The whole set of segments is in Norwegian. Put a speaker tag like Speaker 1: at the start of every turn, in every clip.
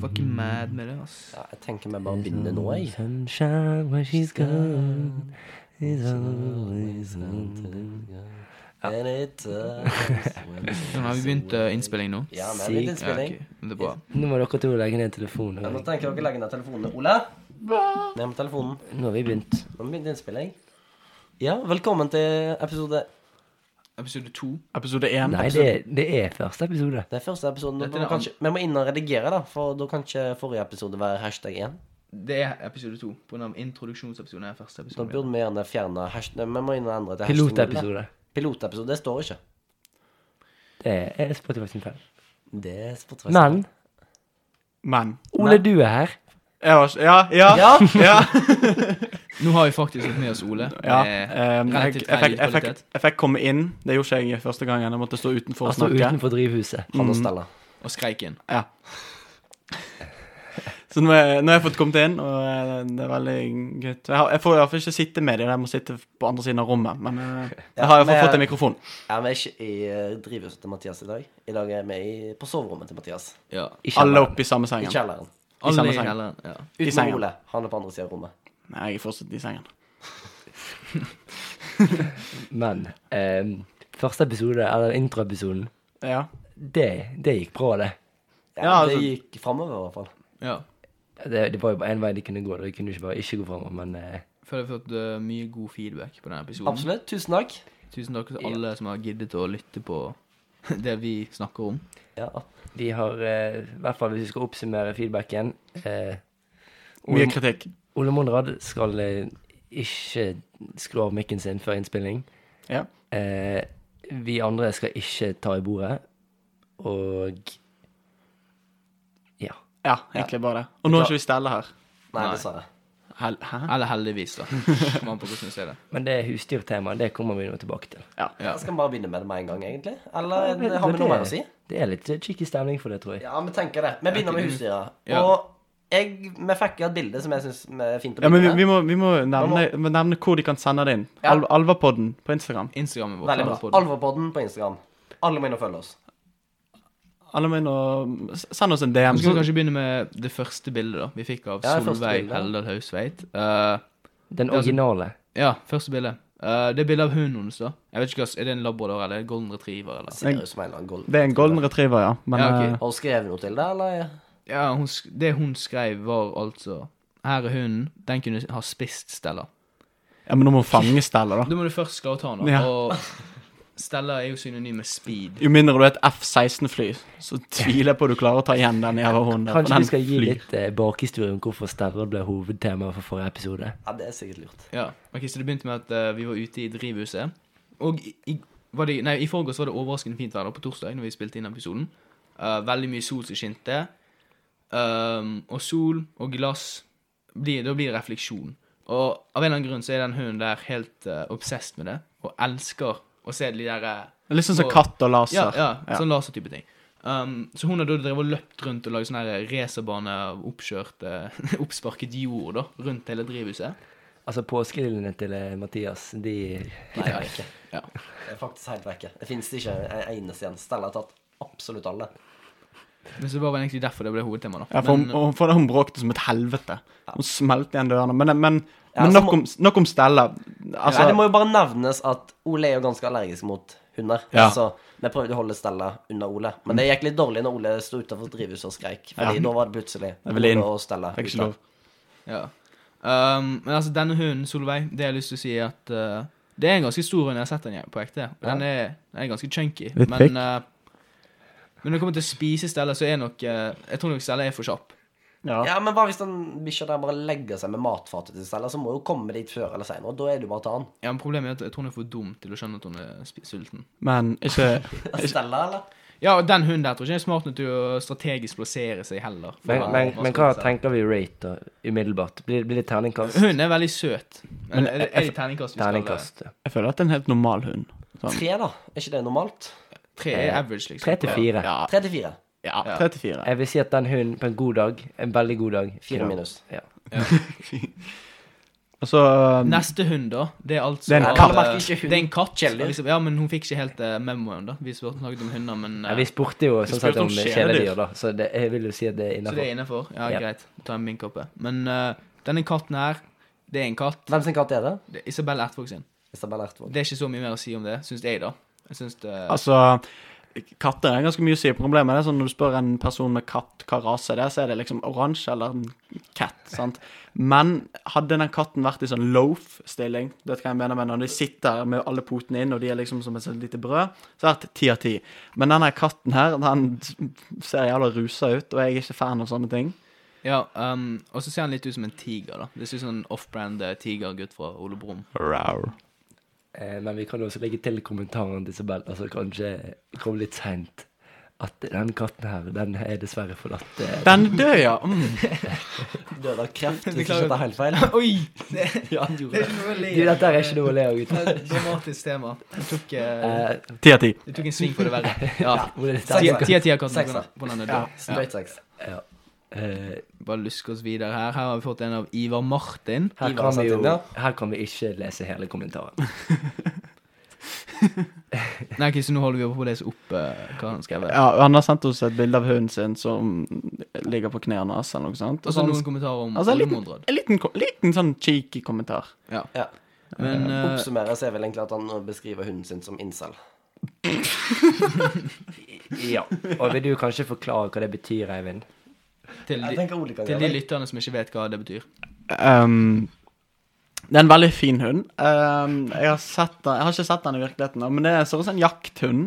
Speaker 1: Fucking mad med det, ass.
Speaker 2: Ja, jeg tenker vi bare begynner nå, jeg.
Speaker 3: Sunshine where she's gone is always something.
Speaker 2: And it does when
Speaker 1: Men har vi begynt eh, innspilling nå?
Speaker 2: Ja, vi har begynt
Speaker 1: Ja,
Speaker 2: innspilling.
Speaker 1: ok. Men Det er bra.
Speaker 3: Nå må dere to legge ned telefonen.
Speaker 2: Ja, Nå tenker dere å legge ned telefonene. Ola? Ned med telefonen.
Speaker 3: Nå har vi begynt.
Speaker 2: Nå begynner innspilling. Ja, velkommen til episode
Speaker 1: Episode to.
Speaker 4: Episode 1.
Speaker 3: Nei,
Speaker 1: altså-
Speaker 3: det, det er første episode.
Speaker 2: Det er første episode. Nå
Speaker 1: Dette er
Speaker 2: må
Speaker 1: an-
Speaker 2: kanskje, vi må inn og redigere, da, for da kan ikke forrige episode være hashtag 1.
Speaker 1: Det er episode to. På grunn av introduksjonsepisoden er første
Speaker 2: Da
Speaker 1: episode.
Speaker 2: burde vi gjerne fjerne hashtag Vi må inn og endre til hashtag null,
Speaker 3: Pilotepisode.
Speaker 2: da. Pilotepisode. Det står ikke.
Speaker 3: Det er Spotify sin feil.
Speaker 2: Det er sportsfest.
Speaker 3: Men
Speaker 4: Men
Speaker 3: Ole, du er her.
Speaker 4: jeg var, Ja, ja, ja.
Speaker 2: Ja!
Speaker 1: Nå har vi faktisk litt med oss Ole. Eh,
Speaker 4: ehm, jeg, jeg, fikk, jeg, fikk, jeg fikk komme inn. Det gjorde ikke jeg første gangen. Jeg måtte stå utenfor og
Speaker 3: Han står
Speaker 4: snakke.
Speaker 3: utenfor drivhuset.
Speaker 2: Han og Stella.
Speaker 1: Og skreik inn.
Speaker 4: Ja. Så nå er- nå har jeg fått kommet inn, og eh, det er veldig gøy. Jeg, har- jeg får i hvert fall ikke sitte med dem. Jeg må sitte på andre siden av rommet. Men eh, jeg har i hvert fall
Speaker 2: men-
Speaker 4: fått en mikrofon.
Speaker 2: Ja, vi er ikke i eh, drivhuset til Mathias i dag. I dag er vi i, på soverommet til Mathias.
Speaker 1: Ja.
Speaker 3: Ikke
Speaker 4: Alle
Speaker 3: han.
Speaker 4: opp i samme
Speaker 2: I
Speaker 4: sengen.
Speaker 2: kjelleren.
Speaker 1: Alle i
Speaker 4: samme seng.
Speaker 1: kjelleren. Ja.
Speaker 4: I
Speaker 2: Uten
Speaker 4: sengen.
Speaker 2: Ole. Han er på andre siden av rommet.
Speaker 4: Nei, jeg er fortsatt i sengen.
Speaker 3: Men ehm, første episode, eller introepisoden,
Speaker 4: Ja.
Speaker 3: det, det gikk bra, det.
Speaker 2: Ja,
Speaker 4: Ja,
Speaker 2: Det
Speaker 4: altså-
Speaker 2: gikk framover, i hvert fall.
Speaker 1: ja.
Speaker 3: Det, det var jo bare én vei de kunne gå. De kunne ikke bare ikke gå framover, men eh,
Speaker 1: Føler jeg har fått eh, mye god feedback på denne episoden.
Speaker 2: Absolutt. Tusen takk.
Speaker 1: Tusen takk til alle som har giddet å lytte på det vi snakker om.
Speaker 2: Ja.
Speaker 3: vi har eh, I hvert fall hvis vi skal oppsummere feedbacken eh,
Speaker 4: Mye
Speaker 3: Ole,
Speaker 4: kritikk.
Speaker 3: Ole Monrad skal eh, ikke skru av mikken sin før innspilling.
Speaker 4: Ja.
Speaker 3: Eh, vi andre skal ikke ta i bordet. Og ja.
Speaker 4: ja, egentlig bare det. Og nå er ikke vi Stella her.
Speaker 2: Nei,
Speaker 1: Nei.
Speaker 2: dessverre.
Speaker 4: Hel hæ?
Speaker 1: Eller heldigvis, da. Man på hvordan ser det.
Speaker 3: Men det husdyrtemaet, det kommer vi nå tilbake til.
Speaker 1: Ja.
Speaker 2: Skal vi bare begynne med det med en gang, egentlig? Eller
Speaker 3: Ja, det-
Speaker 2: har vi
Speaker 3: det-
Speaker 2: noe mer å si?
Speaker 3: Det er litt cheeky stemning for det, tror jeg.
Speaker 2: Ja, vi tenker det. Vi begynner med husdyra.
Speaker 1: Ja.
Speaker 2: Og jeg, vi fikk jo et bilde som jeg syns er fint å
Speaker 4: Ja, men vi,
Speaker 2: begynne
Speaker 4: vi,
Speaker 2: med.
Speaker 4: må, vi må, nevne, vi må nevne hvor de kan sende det inn.
Speaker 2: Ja.
Speaker 4: Al Alvapodden på Instagram.
Speaker 1: Instagrammen vår.
Speaker 2: Veldig bra.
Speaker 1: Alvapodden.
Speaker 2: Alvorpodden på Instagram. Alle må inn og følge oss.
Speaker 4: Alle må inn og s- Send oss en DM.
Speaker 1: Vi skal kanskje begynne med det første bildet da vi fikk av
Speaker 2: Ja, det første
Speaker 1: Solveig
Speaker 2: bildet.
Speaker 1: Heldal Hausveit. Eh,
Speaker 3: Den
Speaker 1: altså-
Speaker 3: originale.
Speaker 1: ja, første bilde. Eh, det er bilde av hunden hennes. da Jeg vet ikke hva, Er det en labrador eller en golden retriever? eller?
Speaker 2: Ser ut som en eller annen gold.
Speaker 4: Det er en golden retriever, ja. Men
Speaker 1: Ja, ok.
Speaker 4: eh,
Speaker 2: Har du skrevet noe til det, eller?
Speaker 1: Ja, hun, sk- Det hun skrev, var altså Her er hunden. Den kunne ha spist Stella.
Speaker 4: ja, men nå må vi fange Stella, da.
Speaker 1: Da må du først klare å ta den. da.
Speaker 4: Ja.
Speaker 1: Og Stella er jo synonym med speed.
Speaker 4: Jo mindre du er et F-16-fly, så tviler jeg på at du klarer å ta igjen den jævla hunden. der, for
Speaker 3: Kanskje
Speaker 4: den
Speaker 3: vi skal gi
Speaker 4: flyr.
Speaker 3: litt eh, bakhistorie om hvorfor Sterre ble hovedtema for forrige episode.
Speaker 2: Ja, det er sikkert lurt.
Speaker 1: Ja, ok, Så det begynte med at eh, vi var ute i drivhuset. Og i, i, var det, nei, i forgårs var det overraskende fint vær da, på torsdag, når vi spilte inn episoden. Eh, veldig mye sol som skinte. Um, og sol og glass blir, Da blir det refleksjon. Og av en eller annen grunn så er den hunden der helt uh, obsessed med det, og elsker å se de der eh,
Speaker 4: Litt sånn som
Speaker 1: Og-
Speaker 4: katt og laser.
Speaker 1: ja, ja, sånn lasertype ting. Um, så hun har da drevet og løpt rundt og laget sånn her racerbane av oppkjørt eh, oppsparket jord da, rundt hele drivhuset.
Speaker 3: Altså, påskelillene til eh, Mathias, de
Speaker 2: Nei, jeg vet ikke.
Speaker 1: Ja.
Speaker 2: Det er faktisk helt vekke. Det finnes ikke en eneste igjen. Stella har tatt absolutt alle.
Speaker 1: Men så var det egentlig derfor det ble hovedtema, da.
Speaker 4: Ja, for,
Speaker 1: Men,
Speaker 4: hun, hun- for hun bråkte som et helvete. Hun smelte igjen dørene. Men, men,
Speaker 2: Ja,
Speaker 4: men
Speaker 2: så
Speaker 4: nok,
Speaker 2: må-
Speaker 4: om, nok om Stella. Altså,
Speaker 2: Nei, det må jo bare nevnes at Ole er jo ganske allergisk mot hunder.
Speaker 4: Ja.
Speaker 2: Så vi prøvde å holde Stella unna Ole. Men det gikk litt dårlig når Ole sto utenfor drivhuset og skreik. Fordi
Speaker 4: Ja.
Speaker 2: da var det plutselig
Speaker 4: Jeg ville inn.
Speaker 2: Ole og Stella
Speaker 4: fikk ikke
Speaker 2: ute.
Speaker 4: lov.
Speaker 1: ja. um, men altså, denne hunden, Solveig, det jeg har lyst til å si, er at eh, det er en ganske stor hund. Jeg har sett den på ekte. Og Den er, den er ganske chunky.
Speaker 4: Litt
Speaker 1: men,
Speaker 4: thick.
Speaker 1: eh, men når det kommer til å spise Stella, så er nok eh, Jeg tror nok Stella er for kjapp.
Speaker 4: Ja.
Speaker 2: Ja, men hva hvis den bikkja der bare legger seg med matfatet til Stella, så må hun jo komme dit før eller senere. Og da er det jo bare å ta han.
Speaker 1: Ja, men Problemet er at jeg tror hun er for dum til å skjønne at hun er sp- sulten.
Speaker 4: Men ikke
Speaker 2: Stella, eller?
Speaker 1: Ja, og den hunden der tror jeg ikke er smart nok til å strategisk plassere seg heller.
Speaker 3: Men,
Speaker 1: For-
Speaker 3: men,
Speaker 1: for-
Speaker 3: men hva tenker vi rate da, umiddelbart? Blir, blir det terningkast?
Speaker 1: Hunden er veldig søt. Men er det, er det terningkast vi skal
Speaker 3: Terningkast. ja.
Speaker 4: Jeg føler at det er en helt normal hund. Sånn.
Speaker 2: Tre, da? Er ikke det normalt?
Speaker 1: Tre er average, liksom.
Speaker 3: Tre til fire.
Speaker 4: Ja,
Speaker 2: Tre til fire.
Speaker 4: ja, tre til fire.
Speaker 3: Jeg vil si at den hunden på en god dag, en veldig god dag
Speaker 2: Fire minus.
Speaker 3: Ja.
Speaker 4: Og så um,
Speaker 1: Neste hund, da. Det er altså
Speaker 4: Det er en
Speaker 1: eh,
Speaker 4: katt.
Speaker 2: Han merker ikke hund.
Speaker 1: Det er en katt.
Speaker 2: Kjæledyr.
Speaker 1: Liksom. Ja, men hun fikk ikke helt eh, memoen, da. Vi spurte- snakket om hunder, men eh,
Speaker 3: Nei, vi spurte jo sånn sett
Speaker 4: spurte om
Speaker 3: om
Speaker 4: kjæledyr.
Speaker 3: kjæledyr, da, så det, jeg vil jo si at det er
Speaker 1: Så det er
Speaker 3: innafor.
Speaker 1: innafor? Ja,
Speaker 3: Ja.
Speaker 1: greit. Ta en minkkoppe. Men eh, denne katten her, det er en katt.
Speaker 2: Hvem sin katt er det?
Speaker 1: Det er Isabel Ertvåg sin.
Speaker 2: Isabel Ertvåg.
Speaker 1: Det er ikke så mye mer å si om det, syns jeg, da. Jeg syns det
Speaker 4: Altså, katter er ganske mye å si. Problemet er det sånn når du spør en person med katt hva rase det er, så er det liksom oransje eller en cat. sant? Men hadde den katten vært i sånn loaf-stilling, vet hva jeg mener med når de sitter med alle potene inn, og de er liksom som et sånt lite brød, så hadde det vært ti av ti. Men denne katten her, den ser jævla rusa ut, og jeg er ikke fan av sånne ting.
Speaker 1: Ja, um, og så ser han litt ut som en tiger, da. Det ser ut som en off-brand eh, tigergutt fra Ole Brumm.
Speaker 3: Eh, Men vi kan jo også legge til kommentaren til Isabel, altså kanskje kom litt seint, at den katten her, den er dessverre forlatt. eh,
Speaker 4: Den dør, ja. Mm.
Speaker 2: Døde av kreft, hvis jeg
Speaker 1: Beklager.
Speaker 2: ikke tar helt feil.
Speaker 1: Oi! Det,
Speaker 2: Ja, han gjorde
Speaker 1: det
Speaker 2: det.
Speaker 1: er noe å le
Speaker 3: Du,
Speaker 1: av.
Speaker 3: dette er ikke noe å le av,
Speaker 1: Det
Speaker 3: gutter.
Speaker 1: er et dramatisk tema. Du tok, eh,
Speaker 3: Eh,
Speaker 4: Ti av ti.
Speaker 1: du tok en sving for det verre. Ja.
Speaker 3: hvor er det
Speaker 1: Ti
Speaker 2: Sekser.
Speaker 1: ti av ti av katten.
Speaker 2: Sekser.
Speaker 1: hvordan- Hvordan er det?
Speaker 2: Ja,
Speaker 1: Ja.
Speaker 2: straight sex.
Speaker 3: Ja. Eh,
Speaker 1: Bare luske oss videre her. Her har vi fått en av Ivar Martin.
Speaker 3: Eh, her,
Speaker 2: Ivar
Speaker 3: kan
Speaker 2: satt
Speaker 3: vi jo,
Speaker 2: inn, ja.
Speaker 3: her kan vi ikke lese hele kommentaren.
Speaker 1: Nei, ok, så nå holder vi på å lese opp eh, hva han har skrevet.
Speaker 4: Ja, og han har sendt oss et bilde av hunden sin som ligger på knærne hans, eller noe sånt.
Speaker 1: Og så
Speaker 4: han-
Speaker 1: noen kommentarer om
Speaker 4: altså, en
Speaker 1: Ole
Speaker 4: liten,
Speaker 1: Mondrad.
Speaker 4: en liten, ko- liten sånn cheeky kommentar.
Speaker 1: Ja.
Speaker 2: Ja.
Speaker 1: Men eh,
Speaker 2: Oppsummeres er vel egentlig at han beskriver hunden sin som incel.
Speaker 3: Ja. Og vil du kanskje forklare hva det betyr, Eivind?
Speaker 1: til,
Speaker 2: Jeg
Speaker 1: de,
Speaker 2: tenker Ole kan
Speaker 1: til de
Speaker 2: gjøre det.
Speaker 1: lytterne som ikke vet hva det betyr.
Speaker 4: Um, det er en veldig fin hund. Um, jeg, har sett den, jeg har ikke sett den i virkeligheten, nå, men det er sånn som en jakthund.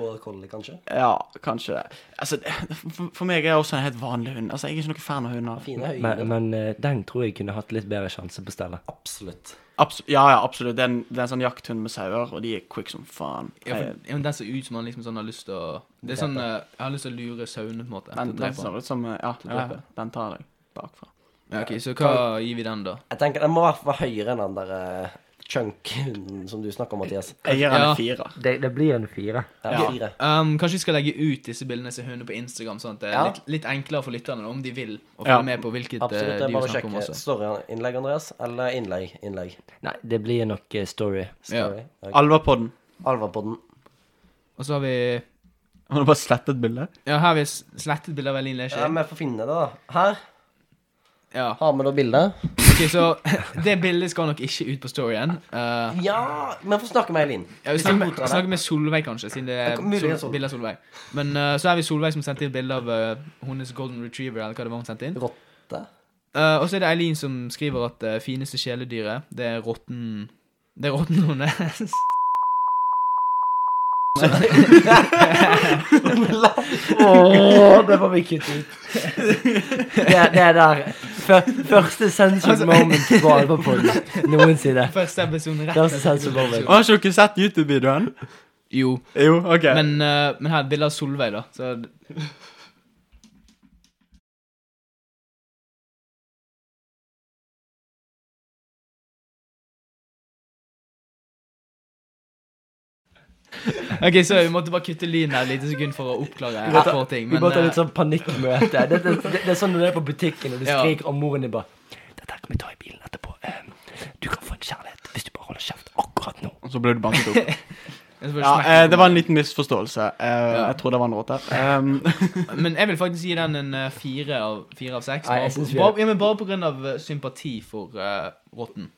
Speaker 2: Border collie, kanskje?
Speaker 4: Ja, kanskje det. Altså, det- for, for meg er det også en helt vanlig hund. Altså, Jeg er ikke noen fan av hunder.
Speaker 2: Fine
Speaker 3: Men,
Speaker 2: øyne.
Speaker 3: men eh, den tror jeg kunne hatt litt bedre sjanse på stellet.
Speaker 2: Absolutt.
Speaker 4: Abs ja, ja, absolutt. Det er, en, det er en sånn jakthund med sauer, og de er quick som faen.
Speaker 1: Ja, for, ja, men Den ser ut som han liksom sånn har lyst til å Det er sånn eh, Jeg har lyst til å lure sauene, på en måte.
Speaker 4: Den,
Speaker 1: til å
Speaker 4: den
Speaker 1: drepe han.
Speaker 4: ser ut som Ja, ja,
Speaker 1: dreper.
Speaker 4: den tar deg bakfra.
Speaker 1: Ja, ok, Så hva gir vi den, da?
Speaker 2: Jeg tenker Den må i hvert fall være høyere enn den der eh, chunk-hunden som du snakker om, Mathias.
Speaker 4: Jeg gir den
Speaker 1: Ja.
Speaker 4: en firer.
Speaker 3: Det, blir en fire.
Speaker 2: Ja,
Speaker 4: Ja.
Speaker 2: fire.
Speaker 1: Um, kanskje vi skal legge ut disse bildene til hundene på Instagram, sånn at det er
Speaker 2: Ja.
Speaker 1: litt, litt enklere for lytterne om de vil å følge
Speaker 4: Ja.
Speaker 1: med på hvilket uh,
Speaker 2: Absolutt. Det er
Speaker 1: dyr
Speaker 2: bare å
Speaker 1: vi snakker om
Speaker 2: sjekke
Speaker 1: også.
Speaker 2: storyinnlegg, Andreas. Eller innlegg. Innlegg.
Speaker 3: Nei, det blir nok eh, story.
Speaker 1: Ja.
Speaker 2: Story. Ja.
Speaker 4: Alvapodden.
Speaker 2: Alvorpodden.
Speaker 1: Og så har vi
Speaker 4: Har du bare slettet bildet?
Speaker 1: Ja, her har vi s- slettet bilde av Elin
Speaker 2: Ja,
Speaker 1: Lesje.
Speaker 2: vi får finne det, da. Her
Speaker 1: Ja.
Speaker 2: har vi da bildet.
Speaker 1: Ok, så det bildet skal nok ikke ut på storyen. Uh,
Speaker 2: Ja! Vi får snakke med Eileen.
Speaker 1: Ja, vi
Speaker 2: Hvis
Speaker 1: snakker
Speaker 2: jeg
Speaker 1: med,
Speaker 2: godtar det.
Speaker 1: snakker med Solveig, kanskje, siden det
Speaker 2: Ja,
Speaker 1: er
Speaker 2: mulig det er
Speaker 1: Sol,
Speaker 2: Solveig.
Speaker 1: bilde av Solveig. Men eh, så er vi Solveig som sendte inn bilde av eh, hennes golden retriever, eller hva det var hun sendte inn.
Speaker 2: Rotte.
Speaker 1: Eh, og så er det Eileen som skriver at det fineste kjæledyret, det er rotten Det er rotten hennes.
Speaker 3: Åh, det får vi kutte ut. Det, det er der Før- Første sensual
Speaker 1: Altså-
Speaker 3: moment på Alvapodden noensinne.
Speaker 1: Første episode rett
Speaker 3: Det er så sensual moment.
Speaker 4: Har ikke dere sett YouTube-videoen?
Speaker 1: Jo.
Speaker 4: Jo, OK.
Speaker 1: Men, eh, men her er et bilde av Solveig, da. Så OK, så vi måtte bare kutte lyden her et lite sekund for å oppklare et par ting.
Speaker 3: Vi
Speaker 1: Men
Speaker 3: bare tar
Speaker 1: eh,
Speaker 3: litt sånn panikkmøte. Det, det, det, det er sånn når du er på butikken og du
Speaker 1: Ja.
Speaker 3: skriker, og moren din bare 'Dette her kan vi ta i bilen etterpå. Ehm, Du kan få en kjærlighet hvis du bare holder kjeft akkurat nå.'
Speaker 4: Og så ble du banket opp.
Speaker 1: jeg får
Speaker 4: Ja,
Speaker 1: smekk
Speaker 4: eh, det var en liten misforståelse. Eh, Jeg tror det var en råte. Um,
Speaker 1: Men jeg vil faktisk gi den en eh, fire av, fire av seks.
Speaker 3: Nei,
Speaker 1: Bare,
Speaker 3: jeg synes vi-
Speaker 1: bare, ja, men bare på grunn av eh, sympati for eh, rotten.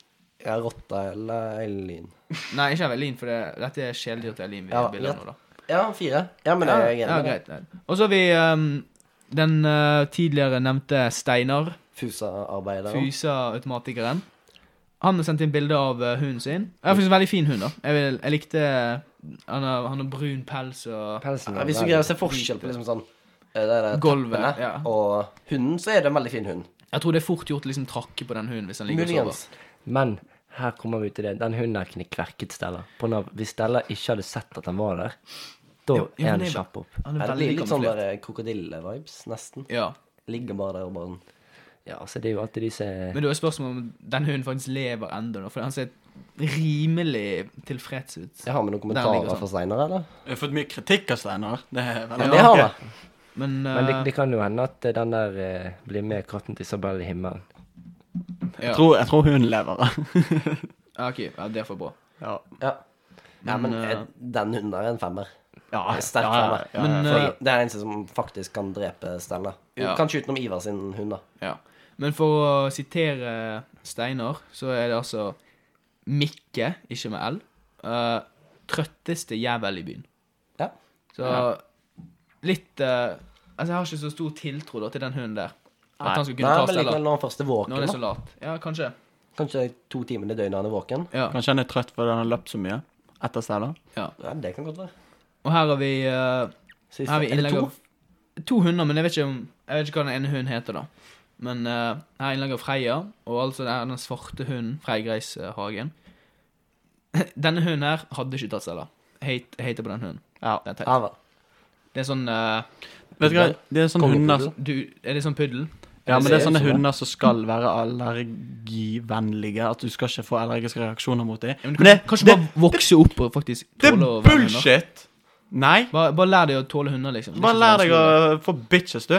Speaker 2: Ja, rotte eller Eileen.
Speaker 1: Nei, ikke av Elin, for det, dette er kjæledyr til Elin. vi
Speaker 2: Ja,
Speaker 1: har bilder av nå,
Speaker 2: rett.
Speaker 1: da.
Speaker 2: Ja, fire. Ja, men jeg er
Speaker 1: Ja,
Speaker 2: enig. med deg.
Speaker 1: greit. nei. Og så har vi ehm, den eh, tidligere nevnte Steinar,
Speaker 2: Fusa-arbeider.
Speaker 1: Fusa-automatikeren. Han har sendt inn bilde av eh, hunden sin. Det er faktisk en veldig fin hund, da. Jeg, vil, jeg likte Han har, han har brun pels og
Speaker 3: Pelsen
Speaker 2: Ja, hvis du greier å se forskjell på liksom sånn eh, det der
Speaker 1: Gulvet.
Speaker 2: teppene
Speaker 1: Ja.
Speaker 2: og hunden, så er det en veldig fin hund.
Speaker 1: Jeg tror det er fort gjort å liksom trakke på den hunden hvis han ligger og sover.
Speaker 2: Muligens.
Speaker 3: Men her kommer vi til det. Den hunden her kunne kverket Stella. På nav. Hvis Stella ikke hadde sett at han var der, da
Speaker 1: Jo, jo,
Speaker 3: er
Speaker 1: men
Speaker 3: han
Speaker 1: det er-
Speaker 3: kjapp opp.
Speaker 1: Han
Speaker 2: Ja,
Speaker 1: er
Speaker 2: det
Speaker 1: veldig
Speaker 2: blir litt sånn
Speaker 1: kamuflert.
Speaker 2: der eh, krokodille-vibes, nesten.
Speaker 1: Ja.
Speaker 2: Ligger bare der og bare sånn.
Speaker 3: Ja, så det er jo alltid disse
Speaker 1: Men det er jo spørsmål om den hunden faktisk lever ennå, for han ser rimelig tilfreds ut.
Speaker 2: Jeg har med noen
Speaker 1: ligger
Speaker 2: kommentarer
Speaker 1: sånn.
Speaker 2: fra Steinar, eller?
Speaker 4: jeg har fått mye kritikk av Steinar. Det er
Speaker 2: Ja,
Speaker 4: veldig
Speaker 2: det har vi.
Speaker 1: Men,
Speaker 3: Men det,
Speaker 1: eh,
Speaker 3: det kan jo hende at den der eh, blir med katten til Isabel i himmelen.
Speaker 1: Ja.
Speaker 4: Jeg, tror, jeg tror hun lever.
Speaker 1: Ja, OK, ja, det er for bra.
Speaker 4: ja.
Speaker 2: Ja. Nei, men
Speaker 1: Men, eh,
Speaker 2: eh, den hunden er en femmer.
Speaker 4: Ah, Ja,
Speaker 2: Sterk
Speaker 4: ja, ja,
Speaker 2: femmer.
Speaker 4: ja,
Speaker 1: Men,
Speaker 2: For
Speaker 1: eh,
Speaker 2: det er den eneste som faktisk kan drepe Stella.
Speaker 1: Ja.
Speaker 2: Kanskje utenom Ivar sin hund, da.
Speaker 1: Ja. Men for å sitere Steinar, så er det altså Mikke, ikke med L, eh, trøtteste jævel i byen.
Speaker 2: Ja.
Speaker 1: Så litt eh, Altså, jeg har ikke så stor tiltro da, til den hunden der. At
Speaker 4: Nei.
Speaker 1: han skulle kunne
Speaker 2: Nei,
Speaker 1: ta
Speaker 2: men
Speaker 1: Stella
Speaker 2: likevel når han først er
Speaker 1: når han
Speaker 2: våken,
Speaker 1: er så
Speaker 2: da.
Speaker 1: lat. Ja, kanskje.
Speaker 2: Kanskje to timer i døgnet han er våken.
Speaker 1: Ja.
Speaker 4: Kanskje han er trøtt fordi han har løpt så mye etter Stella.
Speaker 2: Ja, det kan godt være.
Speaker 1: Og her har vi, eh,
Speaker 2: Siste.
Speaker 1: her har vi
Speaker 2: Er det
Speaker 1: innlegg
Speaker 2: to?
Speaker 1: av To hunder, men jeg vet ikke, om, jeg vet ikke hva den ene hunden heter, da. Men eh, her er innlegg av Freia, og altså det er den svarte hunden, Freigreishagen. Denne hunden her hadde ikke tatt Stella. Hate, hater på den hunden.
Speaker 4: Ja.
Speaker 1: Det er teit.
Speaker 2: Ja vel.
Speaker 1: Det er sånn eh,
Speaker 4: Vet du hva, det er sånne hunder som-
Speaker 1: du, Er det sånn puddel?
Speaker 4: Ja, men det er
Speaker 2: ser ut
Speaker 4: sånne
Speaker 2: som det.
Speaker 4: hunder som skal være allergivennlige. At du skal ikke få allergiske reaksjoner mot dem.
Speaker 1: Ja, men du kan,
Speaker 4: Men det,
Speaker 1: kanskje
Speaker 4: det,
Speaker 1: bare vokse opp og faktisk
Speaker 4: det er
Speaker 1: tåle å være med hunder?
Speaker 4: bullshit! Nei.
Speaker 1: Bare, bare lær deg å tåle hunder, liksom. Det er
Speaker 4: Bare
Speaker 1: ikke så
Speaker 4: lær deg å
Speaker 1: vanskelig.
Speaker 4: få bitches, du.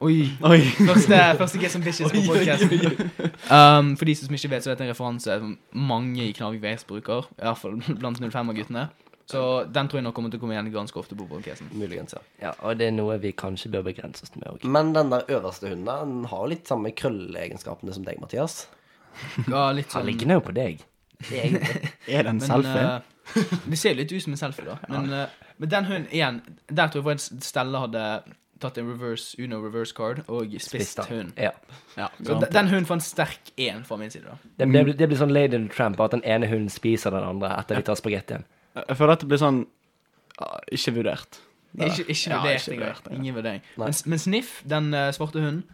Speaker 1: Oi.
Speaker 4: Oi.
Speaker 1: Første, første Get Some Bitches på podcasten. Um, for de som ikke vet, så dette er en referanse som mange i Knarvik VS bruker. I hvert fall blant 05-guttene. Så den tror jeg nok kommer til å komme igjen ganske ofte på podcasten.
Speaker 2: Muligens, ja.
Speaker 3: Ja, og det er noe vi kanskje bør begrense oss med òg.
Speaker 2: Men den der øverste hunden da, den har jo litt samme krølleegenskapene som deg, Mathias.
Speaker 1: Ja, litt
Speaker 3: Han
Speaker 1: sånn
Speaker 3: ligner jo på deg.
Speaker 2: Egentlig.
Speaker 4: Er det en
Speaker 1: men,
Speaker 4: selfie?
Speaker 1: eh, det ser jo litt ut som en selfie, da. Men, eh, men den hunden igjen Der tror jeg faktisk Stella hadde tatt en reverse Uno reverse card og spist
Speaker 3: Spist han.
Speaker 1: hunden.
Speaker 3: Ja.
Speaker 4: ja,
Speaker 1: Så de- den hunden får en sterk én fra min side, da.
Speaker 3: Det, det, blir, det blir sånn Lady and the Tramp, at den ene hunden spiser den andre etter de tar spagettien.
Speaker 4: Jeg føler at det blir sånn ah, ikke vurdert. Det
Speaker 1: Ikke, ikke
Speaker 4: Ja,
Speaker 1: vurdert
Speaker 4: ikke
Speaker 1: engang.
Speaker 4: vurdert, ja.
Speaker 1: Ingen vurdering.
Speaker 2: Nei.
Speaker 1: Men, men Sniff, den eh, svarte hunden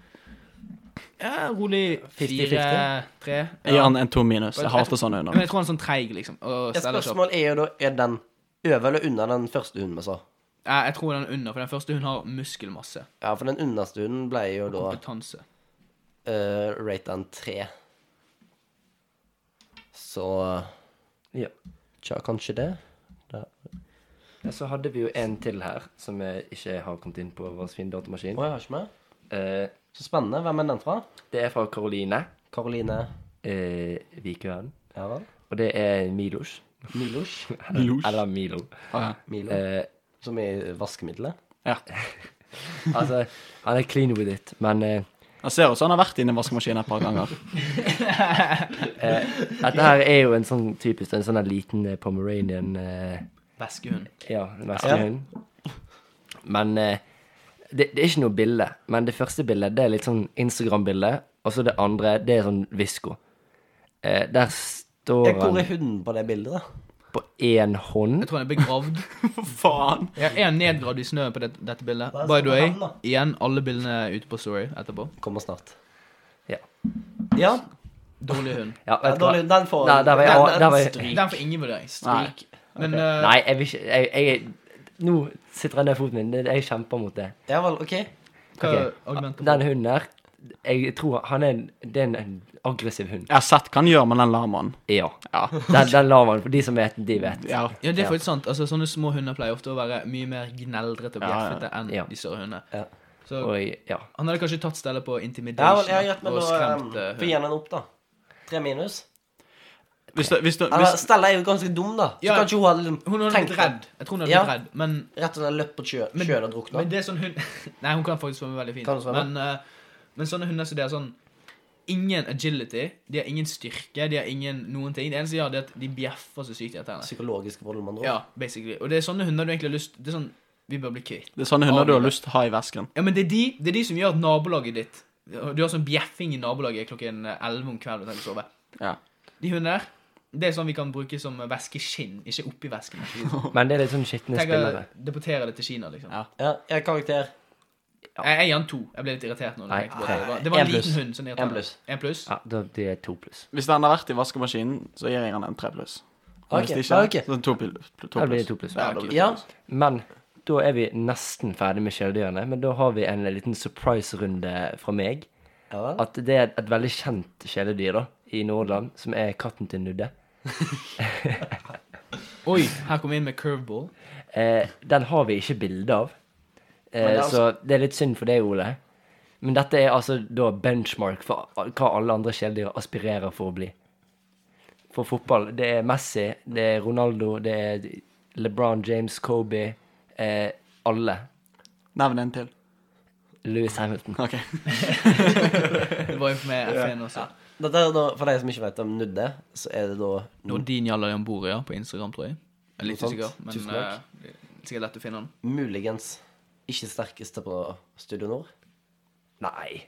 Speaker 1: ja, Rolig
Speaker 2: 50-50.
Speaker 1: fire, tre.
Speaker 4: Jeg gir han en to minus. Jeg hater sånne
Speaker 1: Men
Speaker 4: hunder.
Speaker 1: jeg tror han er sånn treig, liksom. Og
Speaker 2: Et
Speaker 1: steller seg opp.
Speaker 2: spørsmål er jo da er den over eller under den første hunden vi så.
Speaker 1: Ja, Jeg tror den er under, for den første hunden har muskelmasse.
Speaker 2: Ja, for den underste hunden ble jo da
Speaker 1: Kompetanse.
Speaker 2: uh, rate den tre. Så
Speaker 3: Ja.
Speaker 2: tja, kanskje det.
Speaker 3: Ja, Så hadde vi jo en til her, som eh, ikke har kommet inn på vår fine
Speaker 2: Å,
Speaker 3: datamaskin.
Speaker 2: jeg har ikke mer.
Speaker 3: Eh,
Speaker 2: Så spennende. Hvem er den fra?
Speaker 3: det er fra Karoline
Speaker 2: Karoline
Speaker 3: eh, Vikøen.
Speaker 2: Ja vel.
Speaker 3: Og det er Milos.
Speaker 2: Milos.
Speaker 4: Milos?
Speaker 3: Eller Milo.
Speaker 4: Ja.
Speaker 2: Milo.
Speaker 3: Eh,
Speaker 2: Som i vaskemiddelet.
Speaker 4: Ja.
Speaker 3: altså, han er clean with it, men eh,
Speaker 4: Jeg ser også han har vært inne i vaskemaskinen et par ganger.
Speaker 3: dette her er jo en sånn typisk en sånn her liten eh, Pomeranian eh,
Speaker 1: Veskehund.
Speaker 3: Ja, vestehund. Men eh, det, det er ikke noe bilde. Men det første bildet det er litt sånn Instagram-bilde. Og så det andre, det er sånn visko. Eh, der står
Speaker 2: Ja, hvor
Speaker 3: han
Speaker 2: er hunden på det bildet, da?
Speaker 3: på én hånd.
Speaker 1: Jeg tror han er begravd.
Speaker 4: Faen!
Speaker 1: Jeg er nedgravd i snøen på det, dette bildet.
Speaker 2: Hva er
Speaker 1: By
Speaker 2: det som
Speaker 1: the
Speaker 2: er
Speaker 1: way,
Speaker 2: han, da?
Speaker 1: igjen, alle bildene er ute på Story etterpå.
Speaker 2: Kommer snart.
Speaker 3: Ja.
Speaker 2: Ja,
Speaker 1: Dårlig hund.
Speaker 2: ja
Speaker 3: ja vet du hva?
Speaker 2: dårlig. Den får
Speaker 3: Nei, der var jeg,
Speaker 2: den-
Speaker 3: ah, der var jeg.
Speaker 1: Den får ingen vurdering.
Speaker 4: Nei.
Speaker 1: Men eh,
Speaker 3: Nei, jeg vil ikke jeg, jeg, Nå sitter jeg ned foten min. Det- Jeg kjemper mot det.
Speaker 2: Ja vel, OK.
Speaker 1: hva er
Speaker 3: Ok.
Speaker 1: argumentet?
Speaker 3: Den hunden der Jeg tror han er en, det er en- en aggressiv hund.
Speaker 4: Jeg har sett hva han gjør med den lamaen.
Speaker 3: Ja. Den, den lar man. For de som vet, de vet.
Speaker 4: Ja.
Speaker 1: Ja, det er faktisk sant. Altså, Sånne små hunder pleier ofte å være mye mer gneldrete og
Speaker 4: Ja, ja, ja.
Speaker 1: bjeffete enn
Speaker 3: Ja.
Speaker 1: de større hundene.
Speaker 2: Ja.
Speaker 1: Så
Speaker 3: Og jeg- ja.
Speaker 1: han hadde kanskje tatt stedet på
Speaker 2: Ja
Speaker 1: intimidation
Speaker 2: vel, jeg har gitt meg
Speaker 1: og
Speaker 2: nå
Speaker 1: skremt
Speaker 2: eh,
Speaker 1: eh,
Speaker 2: Få gi den en opp, da. Tre minus.
Speaker 4: Hvis du, hvis du,
Speaker 2: Eller,
Speaker 4: hvis,
Speaker 2: Stella er jo ganske dum, da. Så
Speaker 1: Ja.
Speaker 2: kanskje hun hadde liksom
Speaker 1: hunden. Hun hadde
Speaker 2: tenkt
Speaker 1: blitt redd. Jeg tror hun hadde
Speaker 2: Ja.
Speaker 1: blitt redd, men,
Speaker 2: Rett og slett løpt på sjø-
Speaker 1: Men-
Speaker 2: sjøen og drukna.
Speaker 1: men det er sånn hund Nei, hun kan faktisk svømme veldig fint.
Speaker 2: Kan hun svømme?
Speaker 1: Men, eh, men sånne hunder som det er sånn Ingen agility, de har ingen styrke, de har ingen noen ting. Det eneste de har, det er at de bjeffer så sykt i henne.
Speaker 2: Psykologisk vold, man
Speaker 1: Ja, basically. Og det er sånne hunder du egentlig har lyst Det er sånn Vi bør bli kvitt.
Speaker 4: det er sånne hunder du har lyst til å ha i vesken.
Speaker 1: Ja, men det er de, det er de som gjør at nabolaget ditt Du har sånn bjeffing i nabolaget klokken 11 om kvelden når du tenker å sove.
Speaker 4: Ja.
Speaker 1: De hundene der, det er sånn vi kan bruke som væskeskinn, ikke oppi væsken.
Speaker 3: Men det er litt sånn skitne
Speaker 1: Tenk å
Speaker 3: spillere.
Speaker 1: deportere det til Kina, liksom.
Speaker 4: Ja.
Speaker 2: Ja, jeg har karakter.
Speaker 1: Jeg, jeg gir han to. Jeg ble litt irritert nå. Når jeg
Speaker 3: Nei,
Speaker 1: tenkte på det. Det var, det var
Speaker 2: en
Speaker 1: en liten
Speaker 2: pluss.
Speaker 1: hund. Sånn
Speaker 2: En pluss.
Speaker 1: En pluss.
Speaker 3: Ja, da- det er to pluss.
Speaker 4: Hvis den har vært i vaskemaskinen, så gir jeg den en tre pluss.
Speaker 2: Ok,
Speaker 4: Men Hvis det
Speaker 2: ja,
Speaker 4: ikke,
Speaker 2: ok.
Speaker 4: så to, pil- to
Speaker 3: Da blir
Speaker 4: pluss.
Speaker 3: det to pluss.
Speaker 4: Ja, da blir det to
Speaker 2: Ja.
Speaker 4: pluss.
Speaker 3: Men da er vi nesten ferdig med kjæledyrene. Men da har vi en liten surprise-runde fra meg.
Speaker 2: Ja vel.
Speaker 3: At det er et veldig kjent kjæledyr da, i Nordland, som er katten til Nudde.
Speaker 1: Oi, her kom vi inn med curveball.
Speaker 3: Eh, den har vi ikke bilde av. Eh,
Speaker 2: Men det er altså-
Speaker 3: Så det er litt synd for deg, Ole. Men dette er altså da benchmark for hva alle andre kjæledyr aspirerer for å bli. For fotball, det er Messi, det er Ronaldo, det er LeBron James, Kobe eh, Alle.
Speaker 4: Nevn en til.
Speaker 3: Louis Hamilton.
Speaker 4: Ok.
Speaker 1: Det var jo med F1 også.
Speaker 2: Dette er da, for deg som ikke vet om Nudde, så er det da
Speaker 1: Nordin Jalla Jamboria på Instagram, tror jeg. Jeg er litt
Speaker 2: Noe sånt.
Speaker 1: usikker, men
Speaker 2: Tusen takk.
Speaker 1: eh, det er sikkert lett å finne han.
Speaker 2: muligens ikke sterkeste på Studio Nord.
Speaker 3: Nei.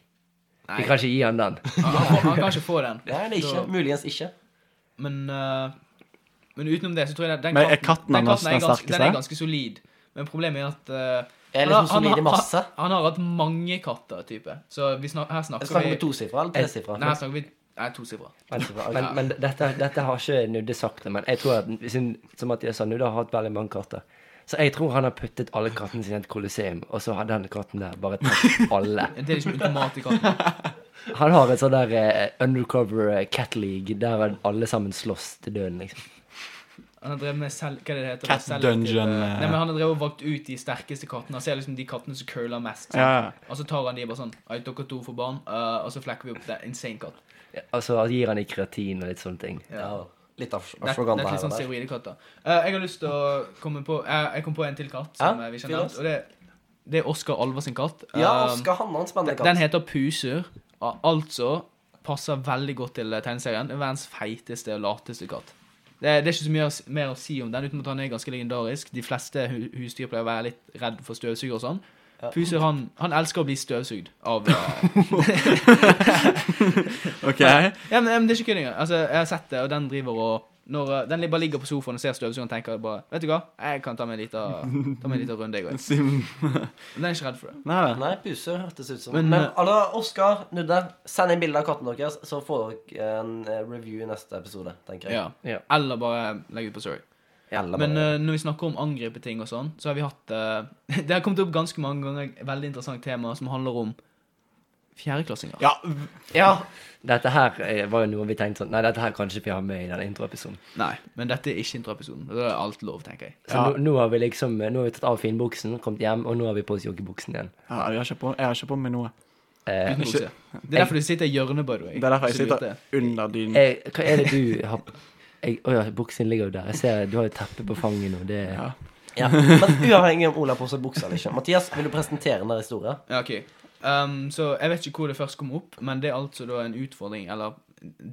Speaker 1: Nei.
Speaker 3: Vi kan ikke gi han den.
Speaker 1: Han, han, får- han kan ikke få den.
Speaker 2: Det er det ikke.
Speaker 1: Så-
Speaker 2: Muligens ikke.
Speaker 1: Men, eh, men utenom det, så tror jeg den, den
Speaker 4: Men er katten hans
Speaker 1: ganske- Den
Speaker 4: den sterkeste?
Speaker 1: er ganske solid. Men problemet er at eh,
Speaker 2: Jeg
Speaker 1: han
Speaker 2: er
Speaker 1: har-
Speaker 2: liksom
Speaker 1: han
Speaker 2: solid i
Speaker 1: har-
Speaker 2: masse.
Speaker 1: Han, han har hatt mange katter, type. Så vi snak, her snakker
Speaker 2: Jeg snakker
Speaker 1: vi
Speaker 2: med tosifra eller tresifra.
Speaker 1: Nei, her snakker vi Nei, tosifra.
Speaker 3: Men,
Speaker 2: Ja.
Speaker 3: men, men dette, dette har ikke Nudde sagt, men jeg tror at, siden- som Mathias sa, Nudde har hatt veldig mange katter. Så jeg tror han har puttet alle kattene sine i et kolosseum, og så har den katten der bare tatt alle.
Speaker 1: Det er ikke automat i katten.
Speaker 3: Han har en sånn der eh, undercover eh, cat league der alle sammen slåss til døden, liksom.
Speaker 1: Han har drevet med selv, hva er det det heter?
Speaker 4: Cat
Speaker 1: Selektive-
Speaker 4: dungeon, eh.
Speaker 1: Nei, men Han har drevet og valgt ut de sterkeste kattene. Han ser liksom de kattene som curler mest. sant?
Speaker 4: Ja, ja.
Speaker 1: Og så tar han de bare sånn «Oi, Dere to får barn, eh, og så flekker vi opp det. Insane katt.
Speaker 3: Altså han gir han i kreatin og litt sånne ting.
Speaker 2: Ja. Litt af-
Speaker 1: Det, det er
Speaker 2: afrogante
Speaker 1: litt
Speaker 2: her
Speaker 1: sånn
Speaker 2: og der.
Speaker 1: steroidekatter. Eh, jeg har lyst til å komme på eh, Jeg kom på en til katt som
Speaker 2: Ja,
Speaker 1: eh, vi ikke
Speaker 2: fyr
Speaker 1: har nevnt.
Speaker 2: løs.
Speaker 1: Og det, det er Oskar Alva sin katt.
Speaker 2: Ja,
Speaker 1: Eh,
Speaker 2: Oskar Hanne har en spennende katt.
Speaker 1: den heter Pusur. og Altså passer veldig godt til eh, tegneserien. Det er Verdens feiteste og lateste katt. Det, det er ikke så mye å s- mer å si om den, uten at han er ganske legendarisk. De fleste hu husdyr pleier å være litt redd for støvsugere og sånn. Pusur han, han elsker å bli støvsugd av eh,
Speaker 4: Ok.
Speaker 1: Ja, men, men det er ikke kødding. Altså, jeg har sett det, og den driver og når, eh, Den bare ligger på sofaen og ser støvsugeren og tenker bare Vet du hva, jeg kan ta meg en liten ta meg en liten runde, jeg òg.
Speaker 4: Sim.
Speaker 1: Den er ikke redd for det.
Speaker 4: Nei vel.
Speaker 2: Nei, puse hørtes ut som.
Speaker 1: Men-
Speaker 2: Men, eh, alle, Oskar, Nudde, send inn bilde av katten deres, så får dere en eh, review i neste episode, tenker jeg.
Speaker 1: Ja.
Speaker 3: Ja.
Speaker 1: Eller bare legge ut på sorry.
Speaker 2: Eller
Speaker 1: Men
Speaker 2: bare-
Speaker 1: eh, når vi snakker om angripe ting og sånn, så har vi hatt eh, Det har kommet opp ganske mange ganger et veldig interessant tema som handler om fjerdeklassinger.
Speaker 4: Ja,
Speaker 2: ja,
Speaker 3: Dette her eh, var jo noe vi tenkte sånn Nei, dette her kan ikke vi ha med i den introepisoden.
Speaker 1: Nei, men dette er ikke introepisoden. Da er alt lov, tenker jeg.
Speaker 3: Så
Speaker 4: Ja.
Speaker 3: nå, nå har vi liksom eh, Nå har vi tatt av finbuksen, kommet hjem, og nå har vi på oss joggebuksen igjen.
Speaker 4: ja jeg, har ikke på, jeg har ikke på meg noe.
Speaker 3: Eh,
Speaker 1: Uten bukse. Det er derfor du sitter i hjørnet, by the way.
Speaker 4: Det er derfor jeg
Speaker 1: Så du vet det.
Speaker 4: sitter under dynen.
Speaker 3: eh, hva er det du har jeg, Å ja, buksen ligger jo der. Jeg ser du har jo teppe på fanget nå. Det
Speaker 4: Ja.
Speaker 2: ja. Men uavhengig om Ola har på seg buksa eller ikke. Mathias, vil du presentere den historien?
Speaker 1: Ja, ok. Ehm, så jeg vet ikke hvor det først kom opp, men det er altså da en utfordring, eller